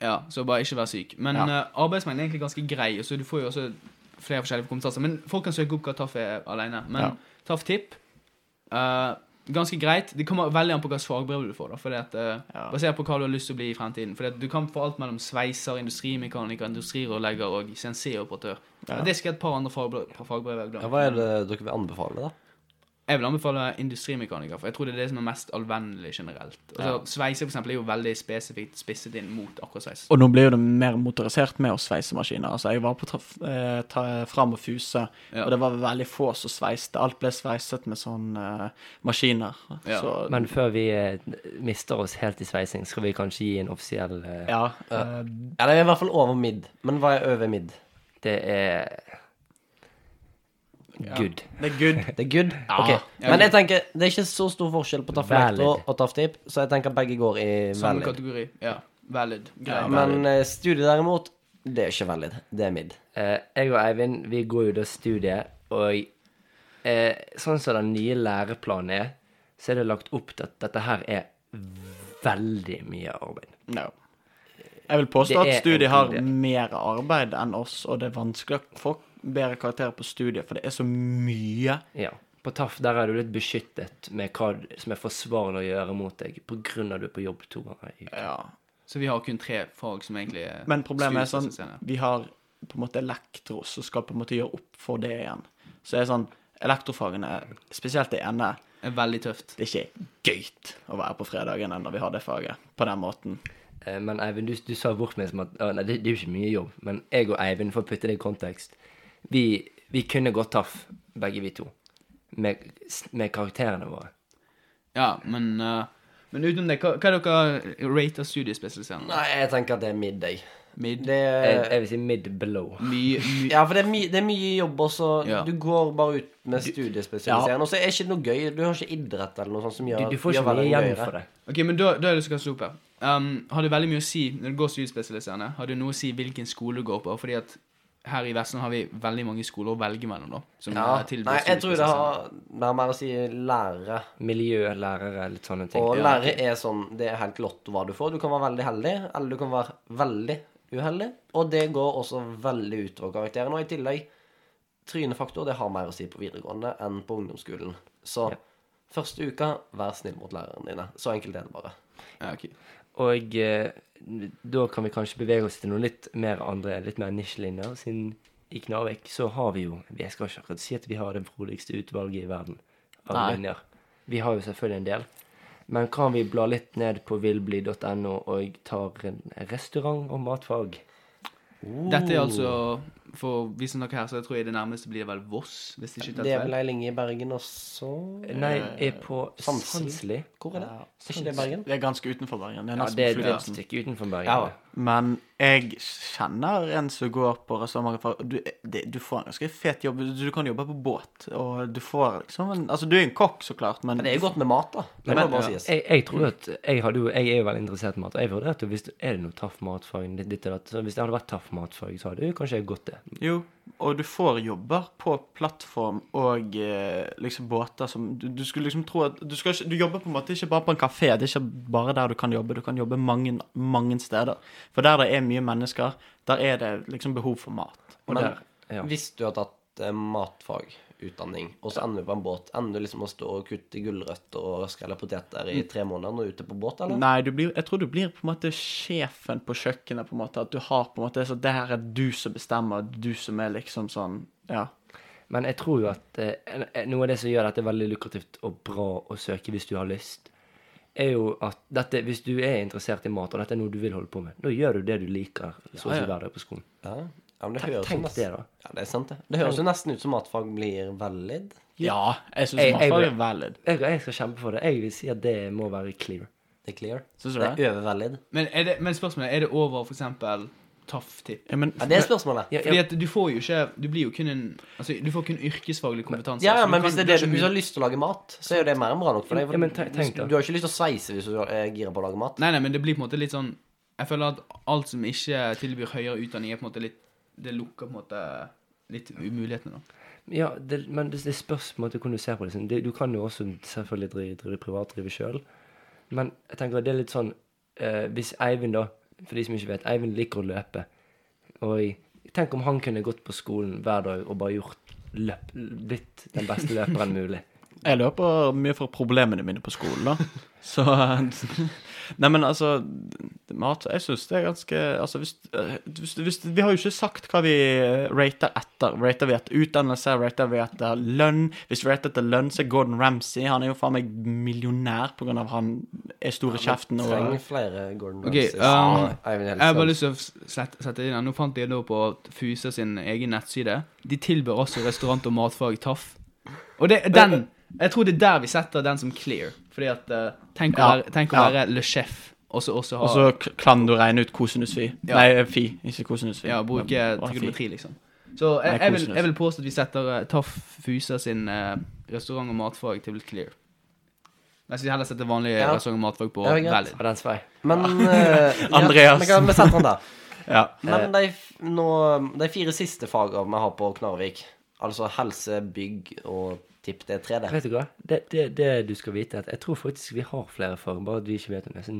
Speaker 1: Eh, Ja, så bare ikke vær syk. Men
Speaker 4: Ja.
Speaker 1: eh, arbeidsmengden er egentlig ganske grei, og så du får jo også flere forskjellige kompetanser. Men folk kan søke opp hva TAF er alene. Men
Speaker 4: Ja.
Speaker 1: TAF tipp eh, ganske greit. Det kommer veldig an på hva slags fagbrev du får, da. Fordi at, eh,
Speaker 4: Ja.
Speaker 1: Basert på hva du har lyst til å bli i fremtiden. Fordi at du kan få alt mellom sveiser, industrimekaniker, industrirørlegger og CNC-operatør.
Speaker 4: Ja.
Speaker 1: Det skal et par andre fagbrev, fagbrev jeg har glemt.
Speaker 2: Ja, hva er det dere vil anbefale, da?
Speaker 1: Jeg vil anbefale industrimekaniker, for jeg tror det er det som er mest allvennlig generelt. Altså, Sveiser for eksempel, er jo veldig spesifikt spisset inn mot akkurat sveis.
Speaker 4: Og nå blir jo det mer motorisert med å sveise maskiner. Altså, jeg var på traf, eh, ta, Fram og Fuse,
Speaker 1: Ja.
Speaker 4: og det var veldig få som sveiste. Alt ble sveiset med sånne eh, maskiner.
Speaker 1: Ja.
Speaker 4: Så,
Speaker 3: Men før vi eh, mister oss helt i sveising, skal vi kanskje gi en offisiell eh,
Speaker 4: ja, eh,
Speaker 2: Ja, det er i hvert fall over midd. Men hva er over midd?
Speaker 3: Det er good.
Speaker 4: det er good.
Speaker 2: Det er good? Ok.
Speaker 1: Ja.
Speaker 2: Men jeg tenker, det er ikke så stor forskjell på taff
Speaker 3: Valid.
Speaker 2: elektro og taff tip, så jeg tenker begge går i
Speaker 1: Samme
Speaker 2: valid.
Speaker 1: kategori. Ja. Valid. Grei.
Speaker 2: Ja, men eh, studiet derimot, det er ikke valid. Det er midd.
Speaker 3: Eh, jeg og Eivind, vi går jo da studiet, og eh, sånn som den nye læreplanen er, så er det lagt opp til at dette her er veldig mye arbeid.
Speaker 4: No. Jeg vil påstå
Speaker 3: Det er
Speaker 4: at studiet
Speaker 3: en
Speaker 4: har
Speaker 3: god del.
Speaker 4: mer arbeid enn oss, og det er vanskelig å få bedre karakterer på studiet, for det er så mye.
Speaker 3: Ja. På TAF der er du litt beskyttet med hva som er forsvarlig å gjøre mot deg, på grunn av at du er på jobb to ganger i uken.
Speaker 1: Så vi har kun tre fag som egentlig er
Speaker 4: Men problemet er sånn,
Speaker 1: studiespesifiserende.
Speaker 4: vi har på en måte elektro som skal på en måte gjøre opp for det igjen. Så det er sånn, elektrofagene, spesielt det ene,
Speaker 1: er veldig tøft.
Speaker 4: det er ikke gøyt å være på fredagen når vi har det faget, på den måten.
Speaker 3: Eh, Men Eivind, du, du sa bort meg som at «Å, Nei, det, det er jo ikke mye jobb. Men jeg og Eivind, for å putte det i kontekst Vi, vi kunne gått taff, begge vi to, med, med karakterene våre.
Speaker 1: Ja, men eh, Men utenom det, hva, hva er dere rater studiespesialiserende?
Speaker 2: Nei, jeg tenker at det er midd, jeg.
Speaker 1: Mid?
Speaker 2: Det er
Speaker 3: Jeg, jeg vil si mid below.
Speaker 1: Mye, mye
Speaker 2: Eh. Ja, for det er, my det er mye jobb, og så
Speaker 1: Ja.
Speaker 2: du går bare ut med studiespesialisering. Og så er det ikke noe gøy. Du har ikke idrett eller noe sånt som
Speaker 3: Du,
Speaker 2: gjør
Speaker 3: du får
Speaker 2: gjør
Speaker 3: ikke mye
Speaker 2: hverdagen
Speaker 3: igjen
Speaker 2: gøyere.
Speaker 3: for det.
Speaker 1: Ok, men da, da er det som kan stå opp her. Um, har det veldig mye å si når du går studiespesialiserende? Har det noe å si hvilken skole du går på? Fordi at her i Vestland har vi veldig mange skoler å velge mellom, da. Som
Speaker 2: Ja.
Speaker 1: eh, tilbyr
Speaker 2: Nei, jeg tror det
Speaker 1: studiespesialiserende.
Speaker 2: har det har mer å si lærere.
Speaker 3: Miljø, lærere, litt sånne ting.
Speaker 2: Og lærere er sånn Det er helt lotto hva du får. Du kan være veldig heldig, eller du kan være veldig uheldig. Og det går også veldig utover karakteren. Og i tillegg trynefaktor, det har mer å si på videregående enn på ungdomsskolen. Så første uka, vær snill mot lærerne dine. Så enkelt er det bare.
Speaker 1: Ja, ok.
Speaker 3: Og eh, da kan vi kanskje bevege oss til noe litt mer andre, litt mer nisjelinjer. Siden i Knarvik så har vi jo Jeg skal ikke akkurat si at vi har det frodigste utvalget i verden av
Speaker 4: Nei.
Speaker 3: linjer. Vi har jo selvfølgelig en del. Men kan vi bla litt ned på villbli.no og tar en restaurant- og matfag?
Speaker 1: Dette er altså For vi som snakker her, så jeg tror jeg det nærmeste blir vel Voss, hvis ikke jeg
Speaker 2: Det er
Speaker 1: tar
Speaker 2: vel
Speaker 1: feil.
Speaker 2: ei linje i Bergen også
Speaker 3: Nei, er på
Speaker 2: Sandsli.
Speaker 3: Sandsli.
Speaker 2: Hvor er det?
Speaker 4: Ja.
Speaker 2: Er ikke det Bergen?
Speaker 4: Det er ganske utenfor Bergen. Det er
Speaker 3: Ja,
Speaker 4: nesten
Speaker 3: det er et
Speaker 4: flyplassen.
Speaker 3: stykke utenfor Bergen.
Speaker 2: Ja.
Speaker 4: Men jeg kjenner en som går på restaurant for du, det, du får en ganske fet jobb. Du kan jobbe på båt, og du får liksom en Altså, du er en kokk, så klart, men
Speaker 2: Men det er jo godt med mat, da. Det må
Speaker 4: Men-
Speaker 2: bare
Speaker 4: ja.
Speaker 2: sies.
Speaker 3: Jeg, jeg tror at jeg, hadde, jo- jeg er jo veldig interessert i mat, og jeg vurderte jo hvis det er det noe taff matfag ditt, ditt, og datt, så Hvis det hadde vært taff matfag, så hadde jo kanskje jeg gått det.
Speaker 4: Jo, og du får jobber på plattform og eh, liksom båter som Du, du skulle liksom tro at du, skal ikke, du jobber på en måte ikke bare på en kafé. Det er ikke bare der du kan jobbe. Du kan jobbe mange, mange steder. For der det er mye mennesker, der er det liksom behov for mat.
Speaker 3: Og
Speaker 2: Men
Speaker 3: der, ja.
Speaker 2: hvis du har tatt eh, matfagutdanning, og så ender du på en båt, ender du liksom å stå og kutte gulrøtter og skrelle poteter
Speaker 3: Mm.
Speaker 2: i tre måneder når du er ute på båt, eller?
Speaker 4: Nei, du blir, jeg tror du blir på en måte sjefen på kjøkkenet, på en måte. At du har på en måte Så det her er du som bestemmer, du som er liksom sånn Ja.
Speaker 3: Men jeg tror jo at eh, en- en- noe av det som gjør dette veldig lukrativt og bra å søke hvis du har lyst, er jo at dette, hvis du er interessert i mat, og dette er noe du vil holde på med, da gjør du det du liker, sånn så å si hver dag på skolen.
Speaker 2: Ja, ja sånn, men det høres jo
Speaker 3: Tenk det,
Speaker 2: nesten
Speaker 3: da.
Speaker 2: Ja, det er sant, det. Det høres jo nesten ut som matfag blir valid.
Speaker 4: Ja, jeg syns
Speaker 3: Jeg- jeg-
Speaker 4: matfag er valid.
Speaker 3: Jeg, jeg skal kjempe for det. Jeg vil si at det må være clear.
Speaker 2: Det er clear.
Speaker 4: Syns du
Speaker 2: Det er overvalid.
Speaker 1: Men, er det, men spørsmålet er, er det over for eksempel TAF-tipp?
Speaker 4: Ja, men,
Speaker 2: Ja, det er spørsmålet.
Speaker 3: Ja,
Speaker 1: Fordi at du får jo ikke Du blir jo kun en Altså, du får kun yrkesfaglig kompetanse.
Speaker 2: Ja,
Speaker 1: så
Speaker 2: ja,
Speaker 1: du
Speaker 2: men
Speaker 1: kan-
Speaker 2: hvis, det er
Speaker 1: du
Speaker 2: det
Speaker 1: har
Speaker 2: du,
Speaker 1: ikke
Speaker 2: hvis du har
Speaker 1: mul-
Speaker 2: lyst til å lage mat, så er jo det mer enn bra nok for deg.
Speaker 3: Ja, men tenk- tenk
Speaker 2: du,
Speaker 3: da.
Speaker 2: du har ikke lyst til å sveise hvis du er gira på å lage mat.
Speaker 1: Nei, nei, men det blir på en måte litt sånn Jeg føler at alt som ikke tilbyr høyere utdanning, er på en måte litt Det lukker på en måte litt umulighetene, da.
Speaker 3: Ja, det, men det, det spørs på en måte hvordan du ser på det. Sånn. det. Du kan jo også selvfølgelig drive, drive privat, drive sjøl. Men jeg tenker at det er litt sånn eh, Hvis Eivind, da For de som ikke vet, Eivind liker å løpe. Og tenk om han kunne gått på skolen hver dag og bare gjort løp, blitt den beste løperen mulig.
Speaker 4: Jeg løper mye fra problemene mine på skolen, da. Så Nei, men altså Mat Jeg syns det er ganske Altså, hvis, eh, hvis, hvis Vi har jo ikke sagt hva vi eh, rater etter. Rater vi etter utdannelse? Rater vi etter lønn? Hvis vi rater etter lønn, så er Gordon Ramsay Han er jo faen meg millionær på grunn av han er stor i kjeften og
Speaker 2: Trenger flere Gordon
Speaker 1: Ok,
Speaker 2: Ramsays.
Speaker 1: um,
Speaker 2: og Eivind
Speaker 1: Jeg har bare
Speaker 2: Hellstrøm.
Speaker 1: lyst til å s- sette, sette inn her. Nå fant jeg da på Fusa sin egen nettside. De tilbyr også restaurant- og matfag i TAF. Og det, den Jeg tror det er der vi setter den som clear. Fordi at eh, Tenk å
Speaker 4: Ja,
Speaker 1: være, tenk å
Speaker 4: ja.
Speaker 1: være le chef, og så også ha
Speaker 4: Og så k- kan du regne ut kosinus fi.
Speaker 1: Ja.
Speaker 4: Nei, fi, ikke kosinus fi.
Speaker 1: Ja, bruke
Speaker 4: Bare fi.
Speaker 1: trigonometri, liksom. Så
Speaker 4: Nei,
Speaker 1: jeg, jeg, vil,
Speaker 4: kosinus.
Speaker 1: jeg vil påstå at vi setter eh, TAF Fusa sin eh, restaurant- og matfag til clear. Jeg skal heller sette vanlig
Speaker 2: Ja.
Speaker 1: restaurant- og matfag på
Speaker 2: Ja, greit.
Speaker 1: valid.
Speaker 3: Og den svei.
Speaker 2: Men eh, ja,
Speaker 4: Andreas.
Speaker 2: Vi kan vi setter han der.
Speaker 4: Ja.
Speaker 2: Men de, f- nå, de fire siste fagene vi har på Knarvik, altså helse, bygg og tipp det er tre der.
Speaker 3: Vet du hva? Det, det, det du skal vite, er at jeg tror faktisk vi har flere fag, bare at vi ikke vet om det. Sånn,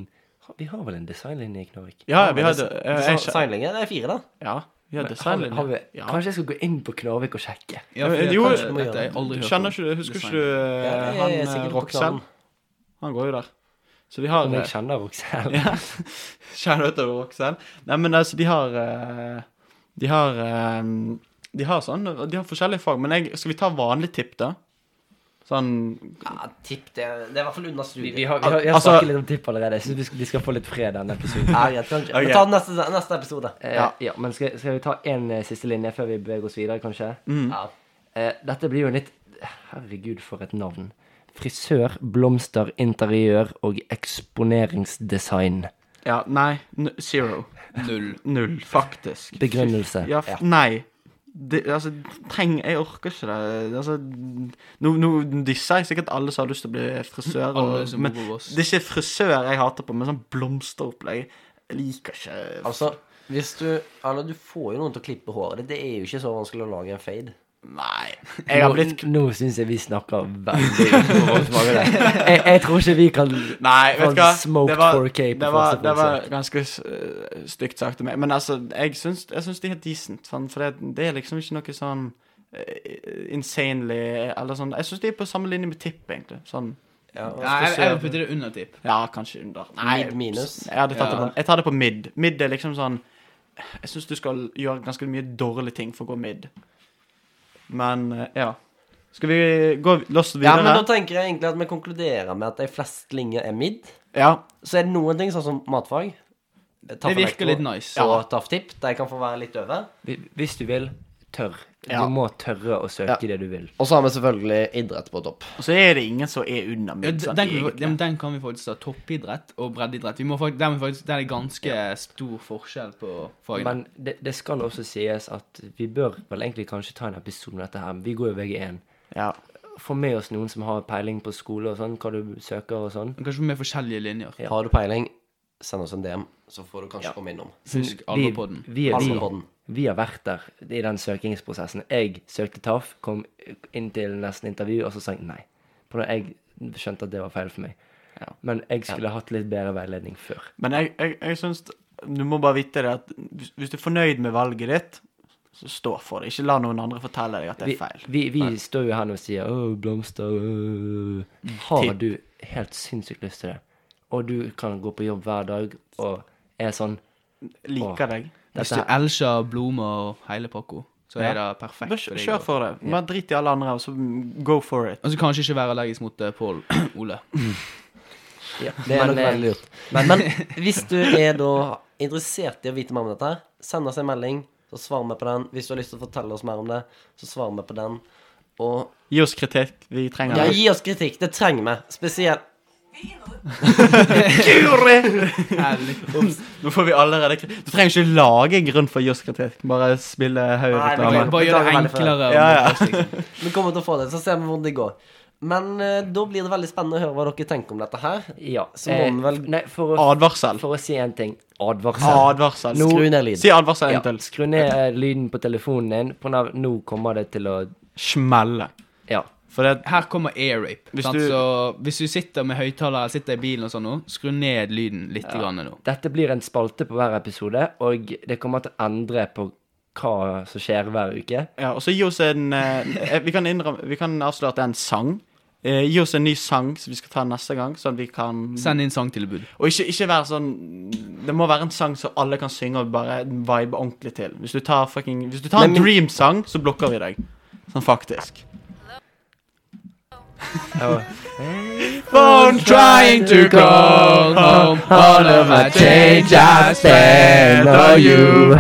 Speaker 3: vi har vel en designlinje i Knarvik?
Speaker 4: ja, vi hadde eh, jeg,
Speaker 2: Så- Signlinjen er fire, da.
Speaker 4: Ja, vi hadde
Speaker 3: Har vi, har vi,
Speaker 4: designlinje. Ja.
Speaker 3: Kanskje jeg skal gå inn på Knarvik og sjekke?
Speaker 1: Ja,
Speaker 4: Ja,
Speaker 1: fordi at,
Speaker 4: jo,
Speaker 1: eh,
Speaker 4: du
Speaker 2: må
Speaker 1: dette har jeg
Speaker 2: gjøre
Speaker 1: aldri
Speaker 4: Du
Speaker 1: hørt
Speaker 4: kjenner
Speaker 1: om.
Speaker 4: ikke du, husker ikke
Speaker 1: Design.
Speaker 4: du
Speaker 2: Ja,
Speaker 4: eh,
Speaker 2: jeg
Speaker 4: han
Speaker 2: er
Speaker 4: eh,
Speaker 2: sikkert på
Speaker 4: Roxel?
Speaker 2: knallen.
Speaker 4: Han går jo der. Så de har
Speaker 3: Om
Speaker 4: eh,
Speaker 3: jeg kjenner Roxelle?
Speaker 4: Kjenner du til Roxel? Nei, men altså, de har eh, De har eh, De har sånn De har forskjellige fag, men jeg, skal vi ta vanlig tipp, da? Sånn
Speaker 2: Ja, tipp det Det er i hvert fall unna
Speaker 3: Vi,
Speaker 2: studiet.
Speaker 3: vi har, vi har, jeg har
Speaker 4: Altså-
Speaker 3: snakket litt om tipp allerede. Jeg synes vi skal, vi skal få litt fred denne episoden.
Speaker 2: Ja, greit, kanskje.
Speaker 4: Ok.
Speaker 2: Vi tar neste, neste episode.
Speaker 3: Eh, ja. men skal, skal vi ta en eh, siste linje før vi beveger oss videre, kanskje?
Speaker 4: Mm.
Speaker 2: Ja.
Speaker 3: Eh, dette blir jo litt Herregud, for et navn. Frisør, blomster, interiør og eksponeringsdesign.
Speaker 4: Ja, nei. N zero.
Speaker 1: Null.
Speaker 4: Null, faktisk.
Speaker 3: Begrunnelse.
Speaker 4: Ja, f nei. Det, altså, treng, jeg orker ikke det. Altså, nå, nå disser jeg sikkert alle som har lyst til å bli frisør.
Speaker 1: Alle
Speaker 4: Og,
Speaker 1: som
Speaker 4: men,
Speaker 1: bor hos oss.
Speaker 4: det er ikke frisør jeg hater på, men sånn blomsteropplegg. Jeg liker ikke
Speaker 2: Altså, hvis du Eller du får jo noen til å klippe håret ditt. Det er jo ikke så vanskelig å lage en fade.
Speaker 4: Nei. Jeg har blitt
Speaker 3: Nå, nå syns jeg vi snakker veldig uforholdsmessig mange der. Jeg, jeg tror ikke vi kan
Speaker 4: Nei, vet
Speaker 3: Sånn
Speaker 4: du hva.
Speaker 3: smoked
Speaker 4: Det var,
Speaker 3: 4K på
Speaker 4: det var,
Speaker 3: første
Speaker 4: det var ganske øh, stygt sagt til meg. Men altså, jeg syns, jeg syns de er decent. sånn, For det, det er liksom ikke noe sånn øh, insanely eller sånn. Jeg syns de er på samme linje med tipp, egentlig. Sånn
Speaker 1: Nei, jeg, jeg vil putte det under tipp.
Speaker 4: Ja, kanskje under.
Speaker 2: Mid minus.
Speaker 4: Jeg, hadde tatt det
Speaker 1: Ja.
Speaker 4: på, jeg tar det på mid. Mid er liksom sånn Jeg syns du skal gjøre ganske mye dårlige ting for å gå mid. Men eh, ja. Skal vi gå loss
Speaker 2: Ja,
Speaker 4: videre?
Speaker 2: men da tenker jeg egentlig at vi konkluderer med at de fleste linjer er midd.
Speaker 4: ja.
Speaker 2: Så er det noen ting, sånn som matfag
Speaker 1: Det virker litt nice.
Speaker 2: Så taff tipp. De kan få være litt over.
Speaker 3: Hvi- Hvis du vil, tør.
Speaker 4: Ja.
Speaker 3: Du må tørre å søke det du vil.
Speaker 2: Og så har vi selvfølgelig idrett på topp.
Speaker 4: Og så er det ingen som er under
Speaker 1: Ja,
Speaker 4: mid.
Speaker 1: d-
Speaker 4: sant,
Speaker 1: den, kan vi,
Speaker 4: egentlig.
Speaker 1: ja, men den kan vi faktisk ta. Toppidrett og breddeidrett. Vi må fakt- der, må vi faktisk, der er det ganske stor forskjell på fagene.
Speaker 3: Men det, det skal også sies at vi bør vel egentlig kanskje ta en episode om dette her. Vi går jo VG1.
Speaker 4: ja.
Speaker 3: Få med oss noen som har peiling på skole og sånn, hva du søker og sånn.
Speaker 1: Men kanskje med forskjellige linjer.
Speaker 2: Har du peiling, send oss en DM, så får du kanskje komme innom.
Speaker 1: Husk
Speaker 3: Vi,
Speaker 1: Alverpodden.
Speaker 3: vi, er- vi,
Speaker 2: Alverpodden.
Speaker 3: vi har vært der i den søkingsprosessen. Jeg søkte TAF, kom inn til nesten intervju, og så sa jeg nei. For da jeg skjønte at det var feil for meg.
Speaker 4: Ja.
Speaker 3: Men jeg skulle hatt litt bedre veiledning før.
Speaker 4: Men jeg, jeg, jeg syns Du må bare vite det at hvis, hvis du er fornøyd med valget ditt, så stå for det. Ikke la noen andre fortelle deg at det
Speaker 3: Vi,
Speaker 4: er feil.
Speaker 3: vi, vi står jo her nå og sier 'Å, blomster øh. Har du helt sinnssykt lyst til det, og du kan gå på jobb hver dag og er sånn
Speaker 4: Liker deg.
Speaker 1: Hvis
Speaker 3: dette
Speaker 1: du
Speaker 3: her,
Speaker 1: elsker bloomer og hele pakko, så er det perfekt.
Speaker 4: Bare
Speaker 1: for
Speaker 4: kjør
Speaker 1: deg
Speaker 4: kjør
Speaker 1: å-
Speaker 4: for det. Bare drit i alle andre, og så go for it.
Speaker 1: Og så Altså, kanskje ikke være allergisk mot eh, Pål Ole.
Speaker 3: ja,
Speaker 2: Det er
Speaker 3: men,
Speaker 2: nok
Speaker 3: eh,
Speaker 2: veldig lurt. Men, hvis du er da interessert i å vite mer om dette, her, send oss en melding, så svarer vi på den. Hvis du har lyst til å fortelle oss mer om det, så svarer vi på den. Og
Speaker 4: Gi oss kritikk. Vi trenger
Speaker 2: ja,
Speaker 4: det.
Speaker 2: gi oss kritikk. Det trenger vi. Spesielt
Speaker 4: Nå får vi allerede kritikk. Du trenger ikke lage en grunn for å gi oss kritikk. Bare spille
Speaker 2: Nei,
Speaker 4: høy
Speaker 2: det
Speaker 4: reklame.
Speaker 2: går
Speaker 1: Bare gjør det
Speaker 2: Beklager veldig for det.
Speaker 1: enklere. liksom.
Speaker 4: Ja, ja.
Speaker 1: og-
Speaker 2: Vi kommer til å få det, så ser vi hvordan det går. Men eh, da blir det veldig spennende å høre hva dere tenker om dette her.
Speaker 3: Ja. eh,
Speaker 2: Så må den vel-
Speaker 3: Nei, for å,
Speaker 4: Advarsel.
Speaker 3: for å si en ting. Advarsel.
Speaker 4: Advarsel.
Speaker 3: Nå-
Speaker 2: Skru ned lyden.
Speaker 4: Si advarsel en
Speaker 3: Ja,
Speaker 4: til.
Speaker 3: skru ned eh, lyden på telefonen din. På nav- nå kommer det til å
Speaker 4: Smelle.
Speaker 3: Ja.
Speaker 4: For det
Speaker 1: Her kommer air rape.
Speaker 4: Hvis
Speaker 1: Hvis, du...
Speaker 4: du-
Speaker 1: Så, hvis du sitter med høyttaler sitter i bilen og sånn nå, skru ned lyden litt grann nå.
Speaker 3: Dette blir en spalte på hver episode, og det kommer til å endre på hva som skjer hver uke.
Speaker 4: Ja, og så gi oss en eh, vi, kan innrømme, vi kan avsløre at det er en sang. Eh, gi oss en ny sang som vi skal ta neste gang, sånn at vi kan
Speaker 1: Send inn sangtilbud.
Speaker 4: Og ikke, ikke være sånn Det må være en sang som alle kan synge og bare vibe ordentlig til. Hvis du tar, fucking, hvis du tar en
Speaker 2: Men-
Speaker 4: dream-sang, så blokker vi deg. Sånn faktisk.
Speaker 3: Og-
Speaker 4: Phone
Speaker 1: trying to call home. All of my change I spend on you.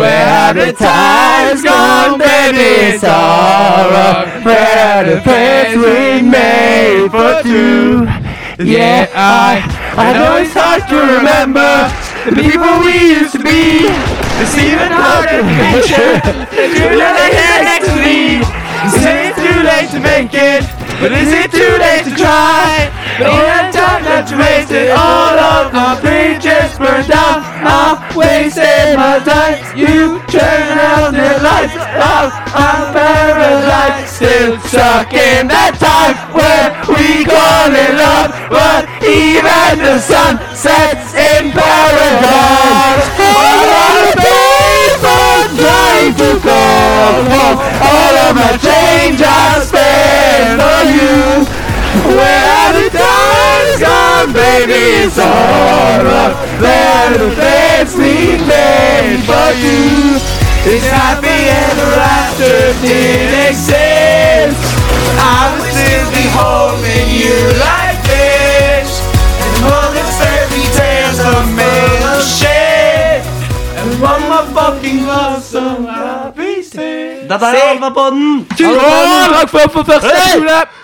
Speaker 3: Where the time's gone, baby, it's alright. Where the place we made for two. Yeah, I, I know it's hard to remember the people we used to be. It's even harder to picture the two that are here next to me. Is it too late to make it? But is it too late to try? All that time that's wasted, all of my bridges burned down. I wasted my time. You turn out the lights. I'm, I'm paralyzed, still stuck in that time where we call it love. But even the sun sets in paradise. All of the people trying to call home. All of my change I spend on you. Where the time's gone, baby, it's all up There the things we made for you It's happy ever after did exist I would still be holding you like this And all the fairy tales are made of shit And one more fucking love song I'll be sick
Speaker 2: Dette er Alvapodden!
Speaker 1: Oh,
Speaker 3: Tusen takk for, for første episode!